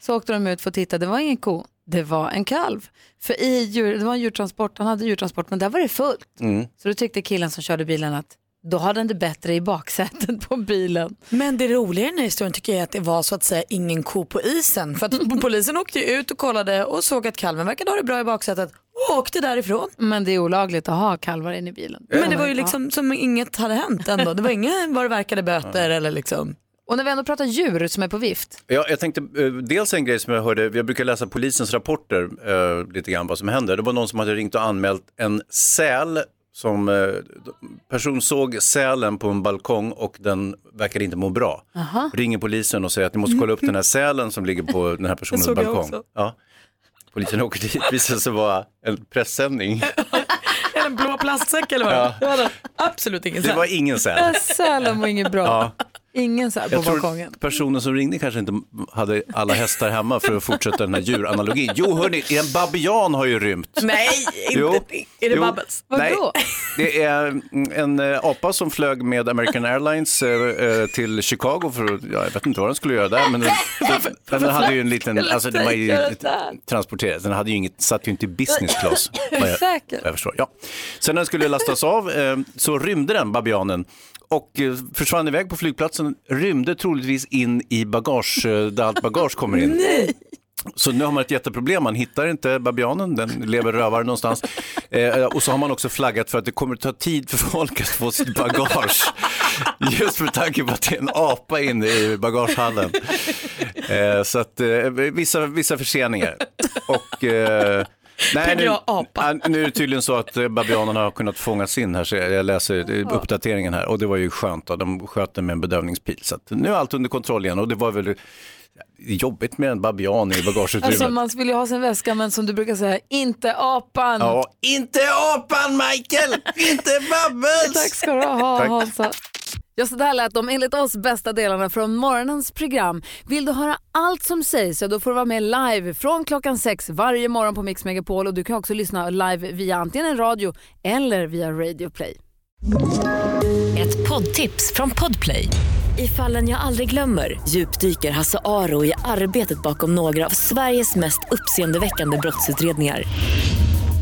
S1: Så åkte de ut för att titta, det var ingen ko, det var en kalv. För i djur, det var en djurtransport, han hade djurtransport, men där var det fullt.
S5: Mm.
S1: Så då tyckte killen som körde bilen att då hade han det bättre i baksätet på bilen.
S2: Men det roliga i den här historien tycker jag är att det var så att säga ingen ko på isen. För att polisen åkte ju ut och kollade och såg att kalven verkade ha det bra i baksätet och åkte därifrån.
S1: Men det är olagligt att ha kalvar inne i bilen.
S2: Men det var ju liksom som inget hade hänt ändå. Det var inga vad det verkade böter eller liksom.
S1: Och när vi ändå pratar djur som är på vift,
S3: Ja, jag tänkte eh, dels en grej som jag hörde, jag brukar läsa polisens rapporter eh, lite grann vad som händer. Det var någon som hade ringt och anmält en säl som eh, person såg sälen på en balkong och den verkade inte må bra.
S5: Aha.
S3: Ringer polisen och säger att ni måste kolla upp den här sälen som ligger på den här personens
S5: såg jag
S3: balkong.
S5: också.
S3: Ja. Polisen åker dit, visar sig vara en pressändning.
S2: Eller en blå plastsäck eller vad
S3: Ja.
S2: det var. Det var Absolut ingen
S3: Det
S2: säl.
S3: var ingen säl.
S1: Ja, Sälen var inget bra.
S3: Ja.
S1: Ingen säl på
S3: Jag
S1: balkongen.
S3: tror personen som ringde kanske inte hade alla hästar hemma för att fortsätta den här djuranalogin. Jo, hörni, en babian har ju rymt.
S2: Nej, inte
S3: Jo.
S2: Är det
S3: Jo.
S2: Babbels?
S3: Nej, det är en eh, apa som flög med American Airlines eh, eh, till Chicago för att, ja, jag vet inte vad den skulle göra där, men den, den, den hade ju en liten, alltså den var ju transporterad, den hade ju inget, satt ju inte i business class. vad jag-
S5: Säker?
S3: vad Jag förstår, ja. Sen när den skulle lastas av eh, så rymde den babianen och eh, försvann iväg på flygplatsen, rymde troligtvis in i bagage, eh, där allt bagage kommer in.
S6: Nej.
S3: Så nu har man ett jätteproblem, man hittar inte babianen, den lever rövare någonstans. Eh, och så har man också flaggat för att det kommer ta tid för folk att få sitt bagage. Just med tanke på att det är en apa inne i bagagehallen. Eh, så att eh, vissa, vissa förseningar. Och, eh,
S6: Tänker jag
S3: apa. nu är det tydligen så att eh, babianerna har kunnat fångas in här, så jag jag läser eh, uppdateringen här och det var ju skönt, då. de sköt den med en bedövningspil. Så att nu är allt under kontroll igen och det var väl jobbigt med en babian i bagageutrymmet.
S5: Alltså man vill ju ha sin väska men som du brukar säga, inte apan.
S3: Ja, inte apan Michael, inte Babbels.
S5: Tack ska du ha
S3: Tack.
S5: Hansa.
S1: Ja, så där lät de enligt oss bästa delarna från morgonens program. Vill du höra allt som sägs så då får du vara med live från klockan sex varje morgon på Mix Megapol och du kan också lyssna live via antingen en radio eller via Radio Play.
S22: Ett poddtips från Podplay. I fallen jag aldrig glömmer djupdyker Hasse Aro i arbetet bakom några av Sveriges mest uppseendeväckande brottsutredningar.